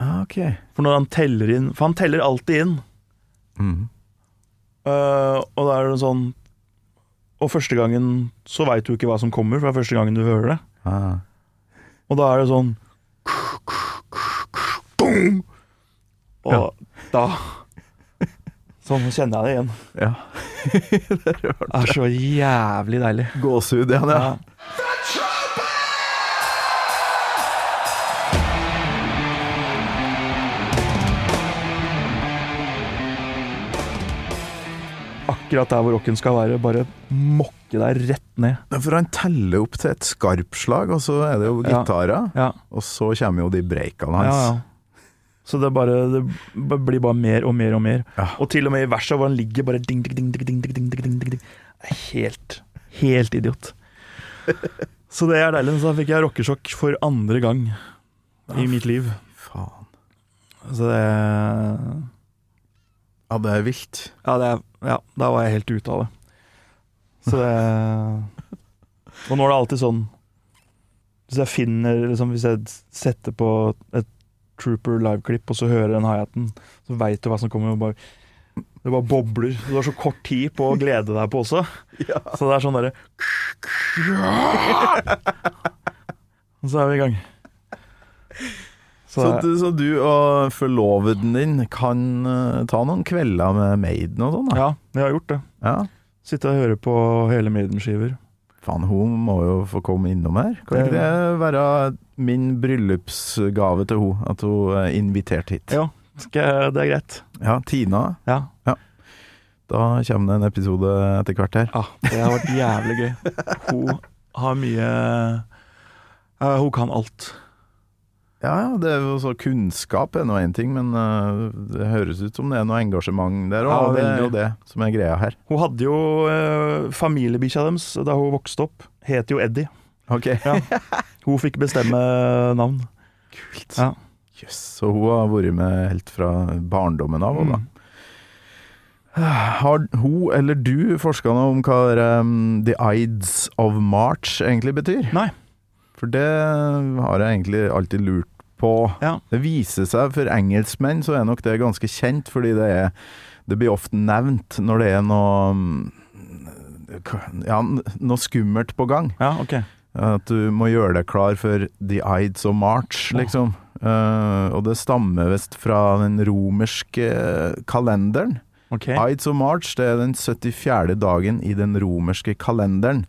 Ah, ok.
For når han teller inn For han teller alltid inn.
Mm.
øh, og da er det sånn Og første gangen så veit du ikke hva som kommer, for det er første gangen du hører det.
Ah.
Og da er det sånn Og da Sånn kjenner jeg det igjen.
Ja.
Det er så jævlig deilig.
Gåsehud, ja. ja.
Ja. Akkurat der hvor rocken skal være. Bare mokke deg rett ned.
Ja, For han teller opp til et skarpslag, og så er det jo
Ja.
gitarer.
Ja
Og så kommer jo de breakene hans.
Ja, ja. Så det, er bare, det b- blir bare mer og mer og mer.
Ja.
Og til og med i verset hvor han ligger bare ding, ding, ding, ding, ding, ding, ding, ding, ding, ding, ding. Det er Helt, helt idiot. Så det er deilig. Så da fikk jeg rockesjokk for andre gang i mitt liv.
Faen.
Så det
Ja, det er vilt.
Ja, det, er- ja da var jeg helt ute av det. Så det Og nå er det alltid sånn Hvis jeg finner liksom, Hvis jeg setter på et Trooper live-klipp, og så hører den hi-haten, så veit du hva som kommer. Og bare, det bare bobler. Du har så kort tid på å glede deg på også. Så det er sånn derre Og Så er vi i gang. Så,
Så,
det-
du, så du og forloveden din kan eh, ta noen kvelder med Maiden og sånn, da?
ja, jeg har gjort det.
Ja.
Sitte og høre på hele Maiden-skiver.
Faen, hun må jo få komme innom her. Kan ikke
Det-
det være min bryllupsgave til hun, at hun er invitert hit?
Ja, skal, det er greit.
Ja, Tina.
Ja.
Da kommer det en episode etter hvert her.
Ja, det har vært jævlig gøy. Hun har mye eh, Hun kan alt.
Ja, ja, det er jo så kunnskap er nå én ting, men eh, det høres ut som det er noe engasjement der òg.
Ja,
og det er jo
veldig.
det som er greia her.
Hun hadde jo eh, familiebikkja deres da hun vokste opp. Het jo Eddie.
Ok,
Hun fikk bestemme navn.
kult.
Ja. Mm.
Jøss, så hun har vært med helt fra barndommen av. og da. Har hun eller du forska noe om hva ehm, The Ides of March egentlig betyr?
Nei.
For det har jeg egentlig alltid lurt på.
Ja.
Det viser seg for engelskmenn så er nok det ganske kjent, fordi det, er, det blir ofte nevnt når det er noe mm, ja, noe skummelt på gang.
Ja, ok.
At du må gjøre deg klar for The Ides of March, liksom. Eh, og det stammer visst fra den romerske kalenderen.
ok.
Ides of March det er den 74. dagen i den romerske kalenderen.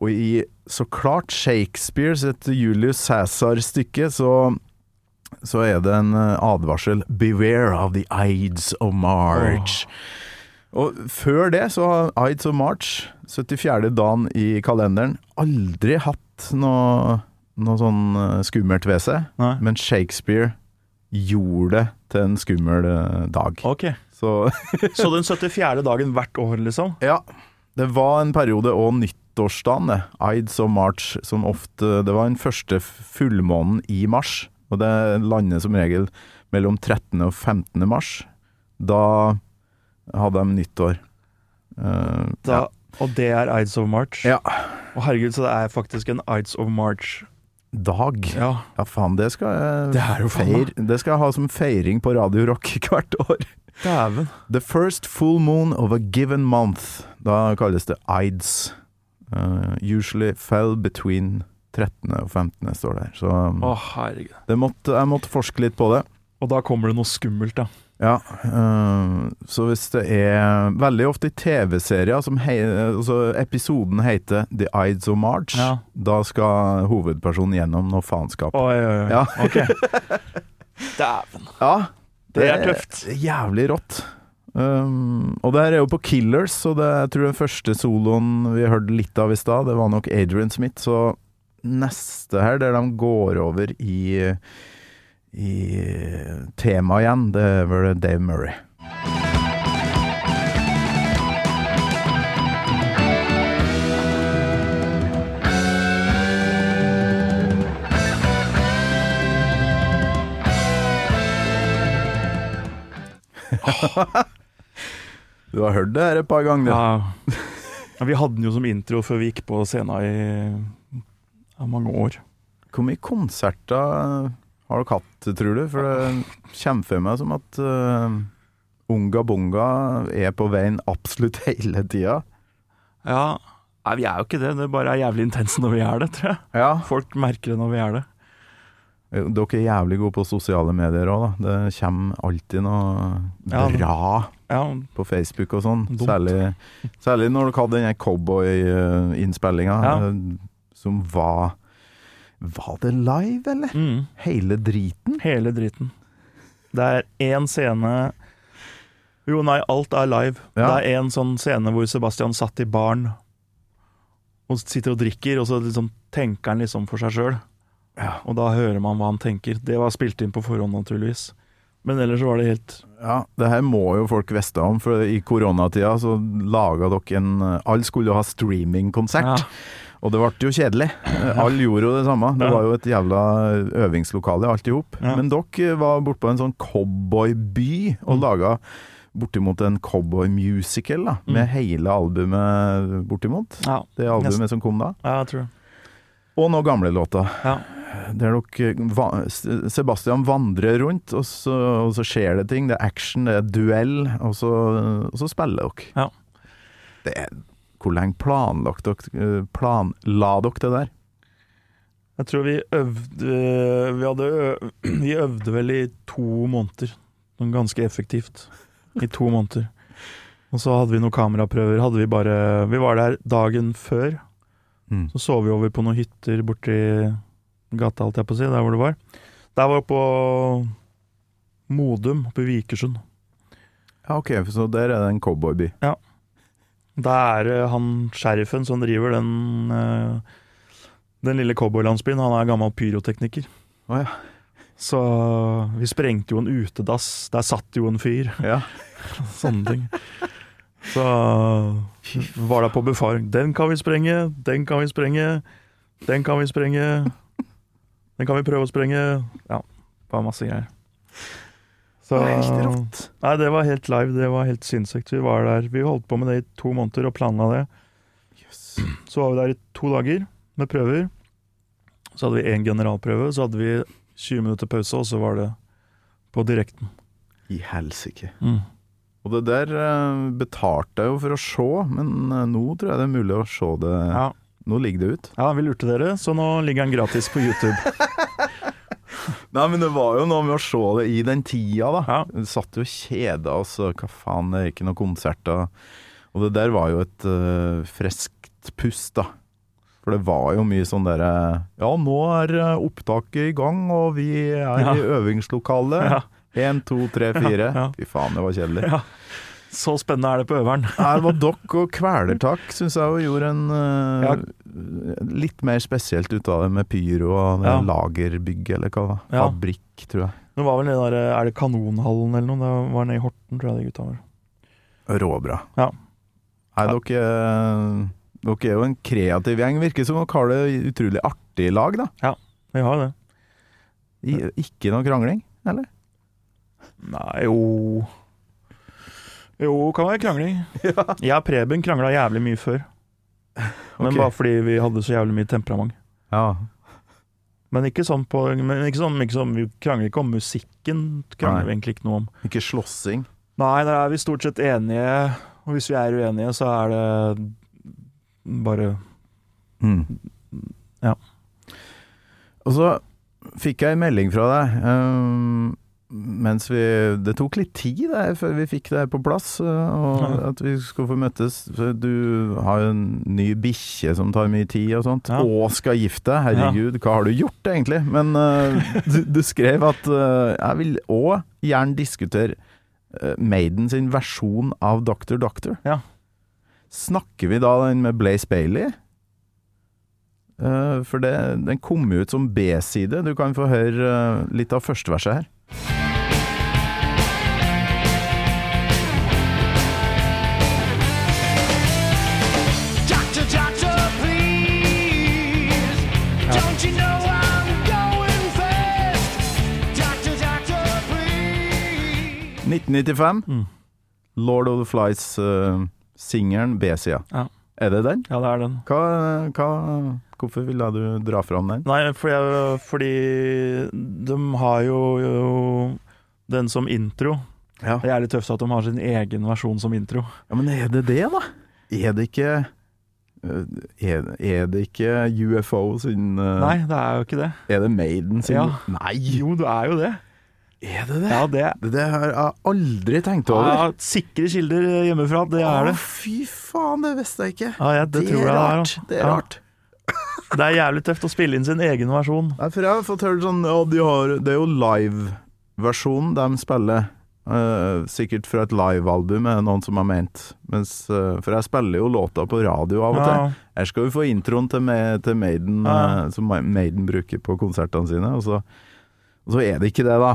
Og i så klart Shakespeares, et Julius Cæsar-stykke, så, så er det en eh, advarsel 'Beware of the Ides of March'. Og før det så har Ides of March, 74. dagen i kalenderen, aldri hatt noe, noe sånn eh, skummelt ved seg.
Nei.
Men Shakespeare gjorde det til en skummel eh, dag.
Ok.
Så
Så den 74. dagen hvert år, liksom?
Ja, det var en periode og nyttårsdagen, det. Ides og March, som ofte Det var den første fullmånen i mars, og det lander som regel mellom 13. og 15. mars. Da hadde de nyttår. Eh,
Da, Og det er Ides of March?
Ja.
Å, herregud, så det er faktisk en Ides of March.
Dag. Ja.
Ja.
faen, det skal jeg
Det er jo faen meg-
feir- Det skal jeg ha som feiring på Radio Rock hvert år.
Dæven.
The first full moon of a given month. Da kalles det Ides. Eh, usually fell between 13. og 15. står det her. Så um,
Å, herregud.
det måtte, jeg måtte forske litt på det.
Og da kommer det noe skummelt, da.
Ja, eh, så hvis det er Veldig ofte i TV-serier som hei, altså episoden heter The Ides of March,
Ja.
da skal hovedpersonen gjennom noe faenskap.
Oi, oi, oi.
Ja.
Ok. Dæven.
Ja,
Det er tøft.
Jævlig rått. Um, og det her er jo på Killers, så det, jeg tror den første soloen vi hørte litt av i stad, det var nok Adrian Smith. Så neste her, der de går over i, i temaet igjen, det er vel Dave Murray. Du har hørt det her et par ganger.
Ja.
du.
Ja, Vi hadde den jo som intro før vi gikk på scenen i ja, mange år.
Hvor mye konserter har dere hatt, tror du? For det kommer for meg som at eh, Unga Bunga er på veien absolutt hele tida.
Ja. Nei, vi er jo ikke det. Det bare er jævlig intenst når vi er det, tror jeg.
Ja.
Folk merker det når vi er det.
Eh, Dere er jævlig gode på sosiale medier òg, da. Det kommer alltid noe
Ja, det-
bra
Ja,
på Facebook og sånn.
Dumt.
Særlig, særlig når dere hadde den cowboy-innspillinga,
Ja.
som var Var det live, eller?
mm.
Hele driten?
Hele driten. Det er én scene Jo, nei, alt er live.
Ja.
Det er én sånn scene hvor Sebastian satt i baren og sitter og drikker, og så liksom tenker han liksom for seg sjøl.
Ja.
Og da hører man hva han tenker. Det var spilt inn på forhånd, naturligvis. Men ellers så var det helt
Ja, det her må jo folk vite om, for i koronatida så laga dere en Alle skulle jo ha streamingkonsert.
Ja.
Og det ble jo kjedelig. Alle gjorde jo det samme. Det
Ja.
var jo et jævla øvingslokale alt i hop.
Ja.
Men dere var bortpå en sånn cowboyby
Mm.
og laga bortimot en cowboymusical, da.
Mm.
Med hele albumet bortimot.
Ja,
Det albumet som kom da.
ja jeg tror det.
Og noen gamle låter.
Ja.
Der dere eh, va Sebastian vandrer rundt, og så, og så skjer det ting. Det er action, det er duell, og så, og så spiller dere.
Ja.
Det er, hvor lenge planlagt dere eh, Planla dere det der?
Jeg tror vi øvde Vi, hadde ø vi øvde vel i to måneder. Sånn ganske effektivt. I to måneder. Og så hadde vi noen kameraprøver. Hadde vi, bare, vi var der dagen før.
Mm.
Så sov vi over på noen hytter borti gata, holdt jeg på å si, der hvor det var. Der var på Modum, oppe i Vikersund.
Ja, ok, så der er det en cowboyby.
Det er eh, han sheriffen som driver den eh, Den lille cowboylandsbyen. Han er gammel pyrotekniker.
Å ja.
Så vi sprengte jo en utedass. Der satt jo en fyr.
Ja.
Sånne ting. Så var det på befaring. Den kan vi sprenge, den kan vi sprenge, den kan vi sprenge. Den kan vi prøve å sprenge. Ja, bare masse greier. Så,
Det er helt rått.
Nei, det var helt live. Det var helt sinnssykt. Vi var der. Vi holdt på med det i to måneder og planla det. Så var vi der i to dager med prøver. Så hadde vi én generalprøve, så hadde vi 20 minutter pause, og så var det på direkten.
I helsike.
Mm.
Og det der eh, betalte jeg jo for å se, men eh, nå tror jeg det er mulig å se det
Ja.
Nå ligger det ut.
Ja, vi lurte dere, så nå ligger den gratis på YouTube.
Nei, men det var jo noe med å se det i den tida, da.
Ja.
Vi satt jo og kjeda oss, og hva faen, det er ikke noen konserter. Og det der var jo et uh, friskt pust, da. For det var jo mye sånn derre Ja, nå er eh, opptaket i gang, og vi er i øvingslokalet. Én, to, tre, fire.
ja.
Fy faen, det var kjedelig.
Så spennende er det på øveren.
Her var dokk og kvelertak, syns jeg, og gjorde en eh,
Ja.
litt mer spesielt ut av det med pyro og det
Ja.
lagerbygg, eller hva det var.
Ja.
Fabrikk, tror jeg.
Det var vel den der, Er det Kanonhallen eller noe? Det var nede i Horten, tror jeg de gutta var.
Råbra.
Ja.
Nei, dere eh, Dere er jo en kreativ gjeng. Virker som dere har det utrolig artig i lag, da.
Vi har jo det.
I, ikke noe krangling, eller?
Nei, jo Jo, kan være krangling. Jeg og Preben krangla jævlig mye før. Men
Ok.
bare fordi vi hadde så jævlig mye temperament.
Ja.
Men ikke sånn på men ikke sånn, ikke sånn, Vi krangler ikke om musikken. Krangler vi egentlig ikke noe om.
Ikke slåssing.
Nei, der er vi stort sett enige. Og hvis vi er uenige, så er det bare
Mm.
Ja.
Og så fikk jeg en melding fra deg ehm, mens vi Det tok litt tid der, før vi fikk det her på plass, eh, og
Ja.
at vi skulle få møtes. For du har jo en ny bikkje som tar mye tid og sånt,
Ja.
og skal gifte deg. Herregud, hva har du gjort egentlig? Men eh, du, du skrev at eh, jeg vil òg gjerne diskutere eh, Maiden sin versjon av Doctor Doctor.
Ja.
Snakker vi da den med Blaze Bailey? Eh, for det, den kom jo ut som B-side. Du kan få høre eh, litt av første verset her.
Doctor, doctor, please. Don't you know I'm going fast? Doctor, doctor, please.
1995.
Mm.
Lord of the Flies-singeren B-sida.
Ja.
Er det den?
Ja, det er den.
Hva, hva, hvorfor ville du dra fram den?
Nei, fordi, jeg, fordi de har jo, jo den som intro.
Ja.
Det er litt tøft at de har sin egen versjon som intro.
Ja, Men er det det, da? Er det ikke eh, er, er det ikke UFO sin eh,
Nei, det er jo ikke det.
Er det Maiden sin
Ja.
Nei!
Jo, det er jo det.
Er det det?
Ja, det
Det der har jeg aldri tenkt over.
Ja, sikre kilder hjemmefra, det er det.
Å, fy faen, det visste jeg ikke.
Ja, jeg, det, tror jeg det er. altså.
Det er
Ja.
rart.
Det er jævlig tøft å spille inn sin egen versjon.
Nei, for jeg har fått hørt sånn ja, de har, Det er jo live-versjonen de spiller. eh, sikkert fra et live-album, er det noen som har ment. Mens, eh, for jeg spiller jo låta på radio av og
Ja.
til. Her skal vi få introen til, Ma- til Maiden,
Ja.
eh, som Ma- Maiden bruker på konsertene sine. Og så, og så er det ikke det, da.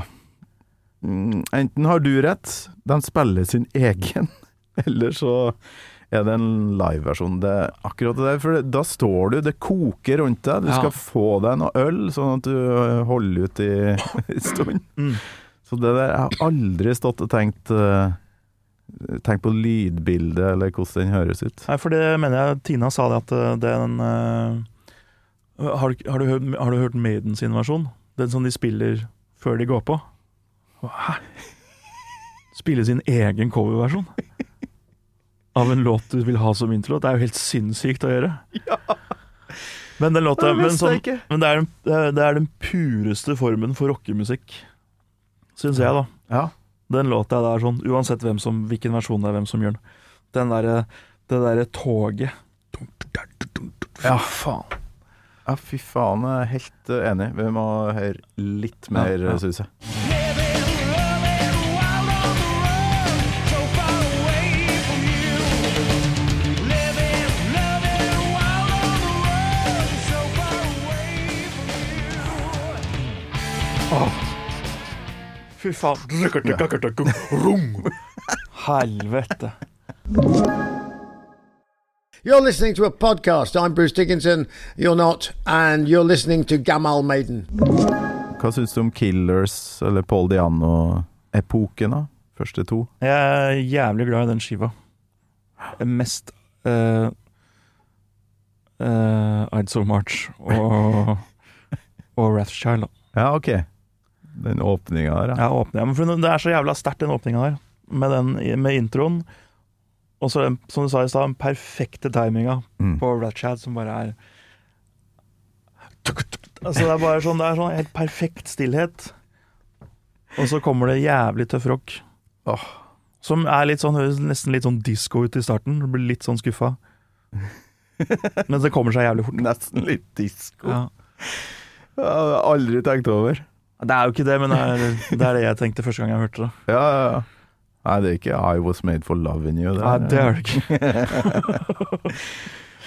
Mm, Enten har du rett, de spiller sin egen, eller så er det en liveversjon. Det er akkurat det der, for det, da står du, det koker rundt deg. Du
Ja.
skal få deg noe øl, sånn at du øh, holder ut i en stund.
Mm.
Så det der Jeg har aldri stått og tenkt øh, Tenkt på lydbildet, eller hvordan den høres ut.
Nei, for det mener jeg Tina sa det at eh, den eh, har, du- har, du hørt, har du hørt Maiden sin versjon? Den som de spiller før de går på? Hæ? Spille sin egen coverversjon? Av en låt du vil ha som intro? Det er jo helt sinnssykt å gjøre. Men den låta
Det
Men,
visste
sånn,
jeg ikke.
men det, er den, det er den pureste formen for rockemusikk, syns jeg, da.
Ja.
Den låta der sånn, uansett hvem som, hvilken versjon det er hvem som gjør den. Den derre det derre toget.
Ja, faen. Ja, fy faen. Jeg er helt øh, enig. Vi må høre litt mer,
ja.
Suse.
Living, loving, wild on the run, so far away from you. Living, loving, wild on the run, so far away from you.
Fy faen. Helvete.
You're listening to a podcast. I'm Bruce Dickinson. You're not. And you're listening to Gamal Maiden.
Hva syns du om Killers eller Paul Diano-versjonen? Epoken, da? Første to?
Jeg er jævlig glad i den skiva. Mest eh, eh, I'd So Much og, og Rathchild. da.
Ja, OK. Den åpninga der, ja.
Jeg åpner, ja, men for det er så jævla sterkt, den åpninga der, med, den, med introen. Og så, den, som du sa i stad, den perfekte timinga
Mm.
på Rathchild, som bare er Altså, det er bare sånn, det er sånn helt perfekt stillhet. Og så kommer det jævlig tøff rock.
Åh.
Som er litt sånn, høres nesten litt sånn disko ut i starten. Du blir litt sånn skuffa. Men det kommer seg jævlig fort.
Nesten litt disko.
Ja.
Ja, det har jeg aldri tenkt over.
Det er jo ikke det, men det er, det er det jeg tenkte første gang jeg hørte det.
Ja, ja, ja. Nei, det er ikke 'I was made for loving you'.
Nei, det er det
Altså,
ikke.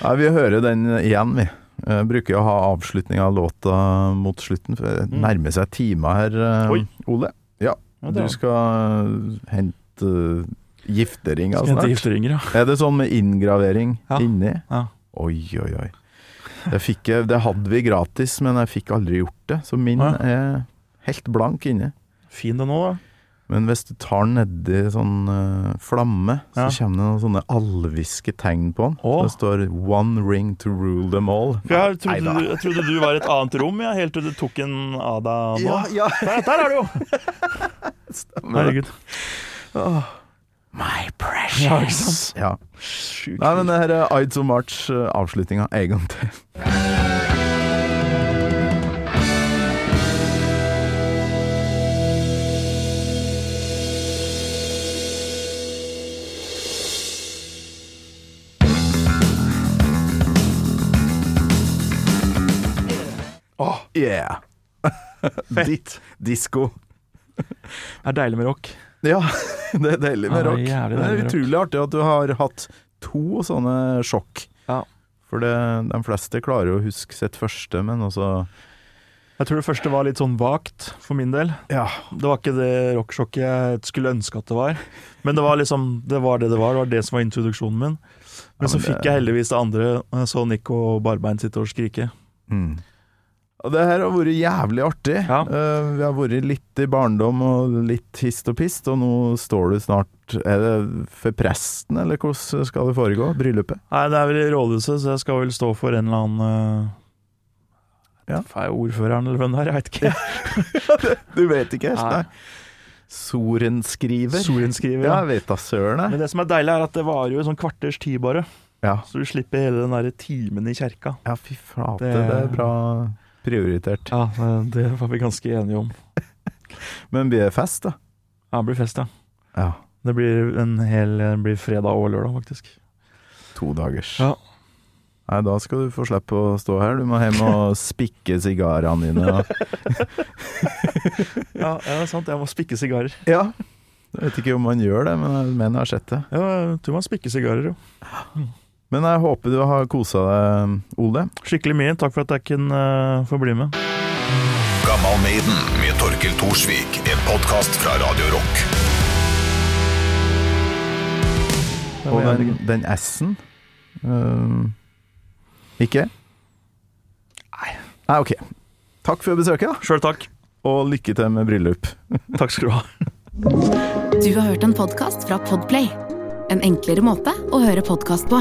Nei, vi hører den igjen, vi. Eh, bruker å ha avslutning av låta mot slutten. for Det nærmer seg timer her, eh,
Mm. Oi.
Ole. Ja,
Ja, det
du
er-
skal eh, hente eh, altså. gifteringa
Skal hente
snart.
gifteringer, ja.
Er det sånn med inngravering
Ja.
inni?
Ja.
Oi, oi, oi. Det, fikk jeg, det hadde vi gratis, men jeg fikk aldri gjort det. Så min
Ja.
er helt blank inni.
Fin det nå, da.
Men hvis du tar den nedi sånn eh, flamme, så
Ja.
kommer det noen sånne alviske tegn på den.
Å.
Så det står 'One ring to rule them all'.
For jeg trodde,
Neida.
du- jeg trodde du var i et annet rom, jeg, helt til du tok en av deg nå.
ja.
Der, der er du jo! Herregud.
My
Ja,
precious.
ikke sant?
Ja.
Sjukt.
Nei, men det her er Ides of March, eh, avslutninga en gang til. Åh, yeah. Ditt disko.
Det er deilig med rock.
Ja, det er deilig med
Ja,
rock.
det er jævlig
det er
deilig med
utrolig artig at du har hatt to sånne sjokk.
Ja.
For det, de fleste klarer jo å huske sitt første, men også
Jeg tror det første var litt sånn vagt, for min del.
Ja.
Det var ikke det rocksjokket jeg skulle ønske at det var. Men det var liksom, det var det det var. Det var det som var introduksjonen min. Men så
men det-
fikk jeg heldigvis det andre, og jeg så Nico og Barbein sitte og skrike.
Mm. Og det her har vært jævlig artig.
Ja.
Eh, vi har vært litt i barndom og litt hist og pist, og nå står du snart Er det for presten, eller hvordan skal det foregå? Bryllupet?
Nei, det er vel i rådhuset, så jeg skal vel stå for en eller annen
Ja.
ja. Er jeg ordføreren eller hvem det er? Jeg veit ikke.
Du vet ikke helt,
Nei.
nei. Sorenskriver?
Sorenskriver.
Ja,
Ja.
jeg vet da søren, jeg.
Men det som er deilig, er at det varer jo i sånn kvarters tid bare.
Ja.
Så du slipper hele den derre timen i kjerka.
ja, fy flate,
Det-
det er bra prioritert.
Ja, eh, det var vi ganske enige om.
Men blir det fest, da?
Ja, det blir fest, ja.
Ja.
Det blir en hel eh, det blir fredag og lørdag, faktisk.
To dagers.
Ja.
Nei, da skal du få slippe å stå her. Du må hjem og spikke sigarene dine. og-
Ja, ja, det er sant. Jeg må spikke sigarer.
Ja. Jeg vet ikke om man gjør det, men menn har sett det.
Ja, jeg tror man spikker sigarer, jo.
Men jeg håper du har kosa deg, Ole.
Skikkelig mye. Takk for at jeg kunne eh, få bli med.
Gammal Maiden med Torkel Thorsvik. En podkast fra Radio Rock.
Det var
Og
jævlig
den,
gøy.
den S-en øhm, Ikke? Nei. Nei, OK. Takk for besøket, da.
Sjøl takk.
Og lykke til med bryllup.
Takk skal du ha.
Du har hørt en podkast fra Podplay. En enklere måte å høre podkast på.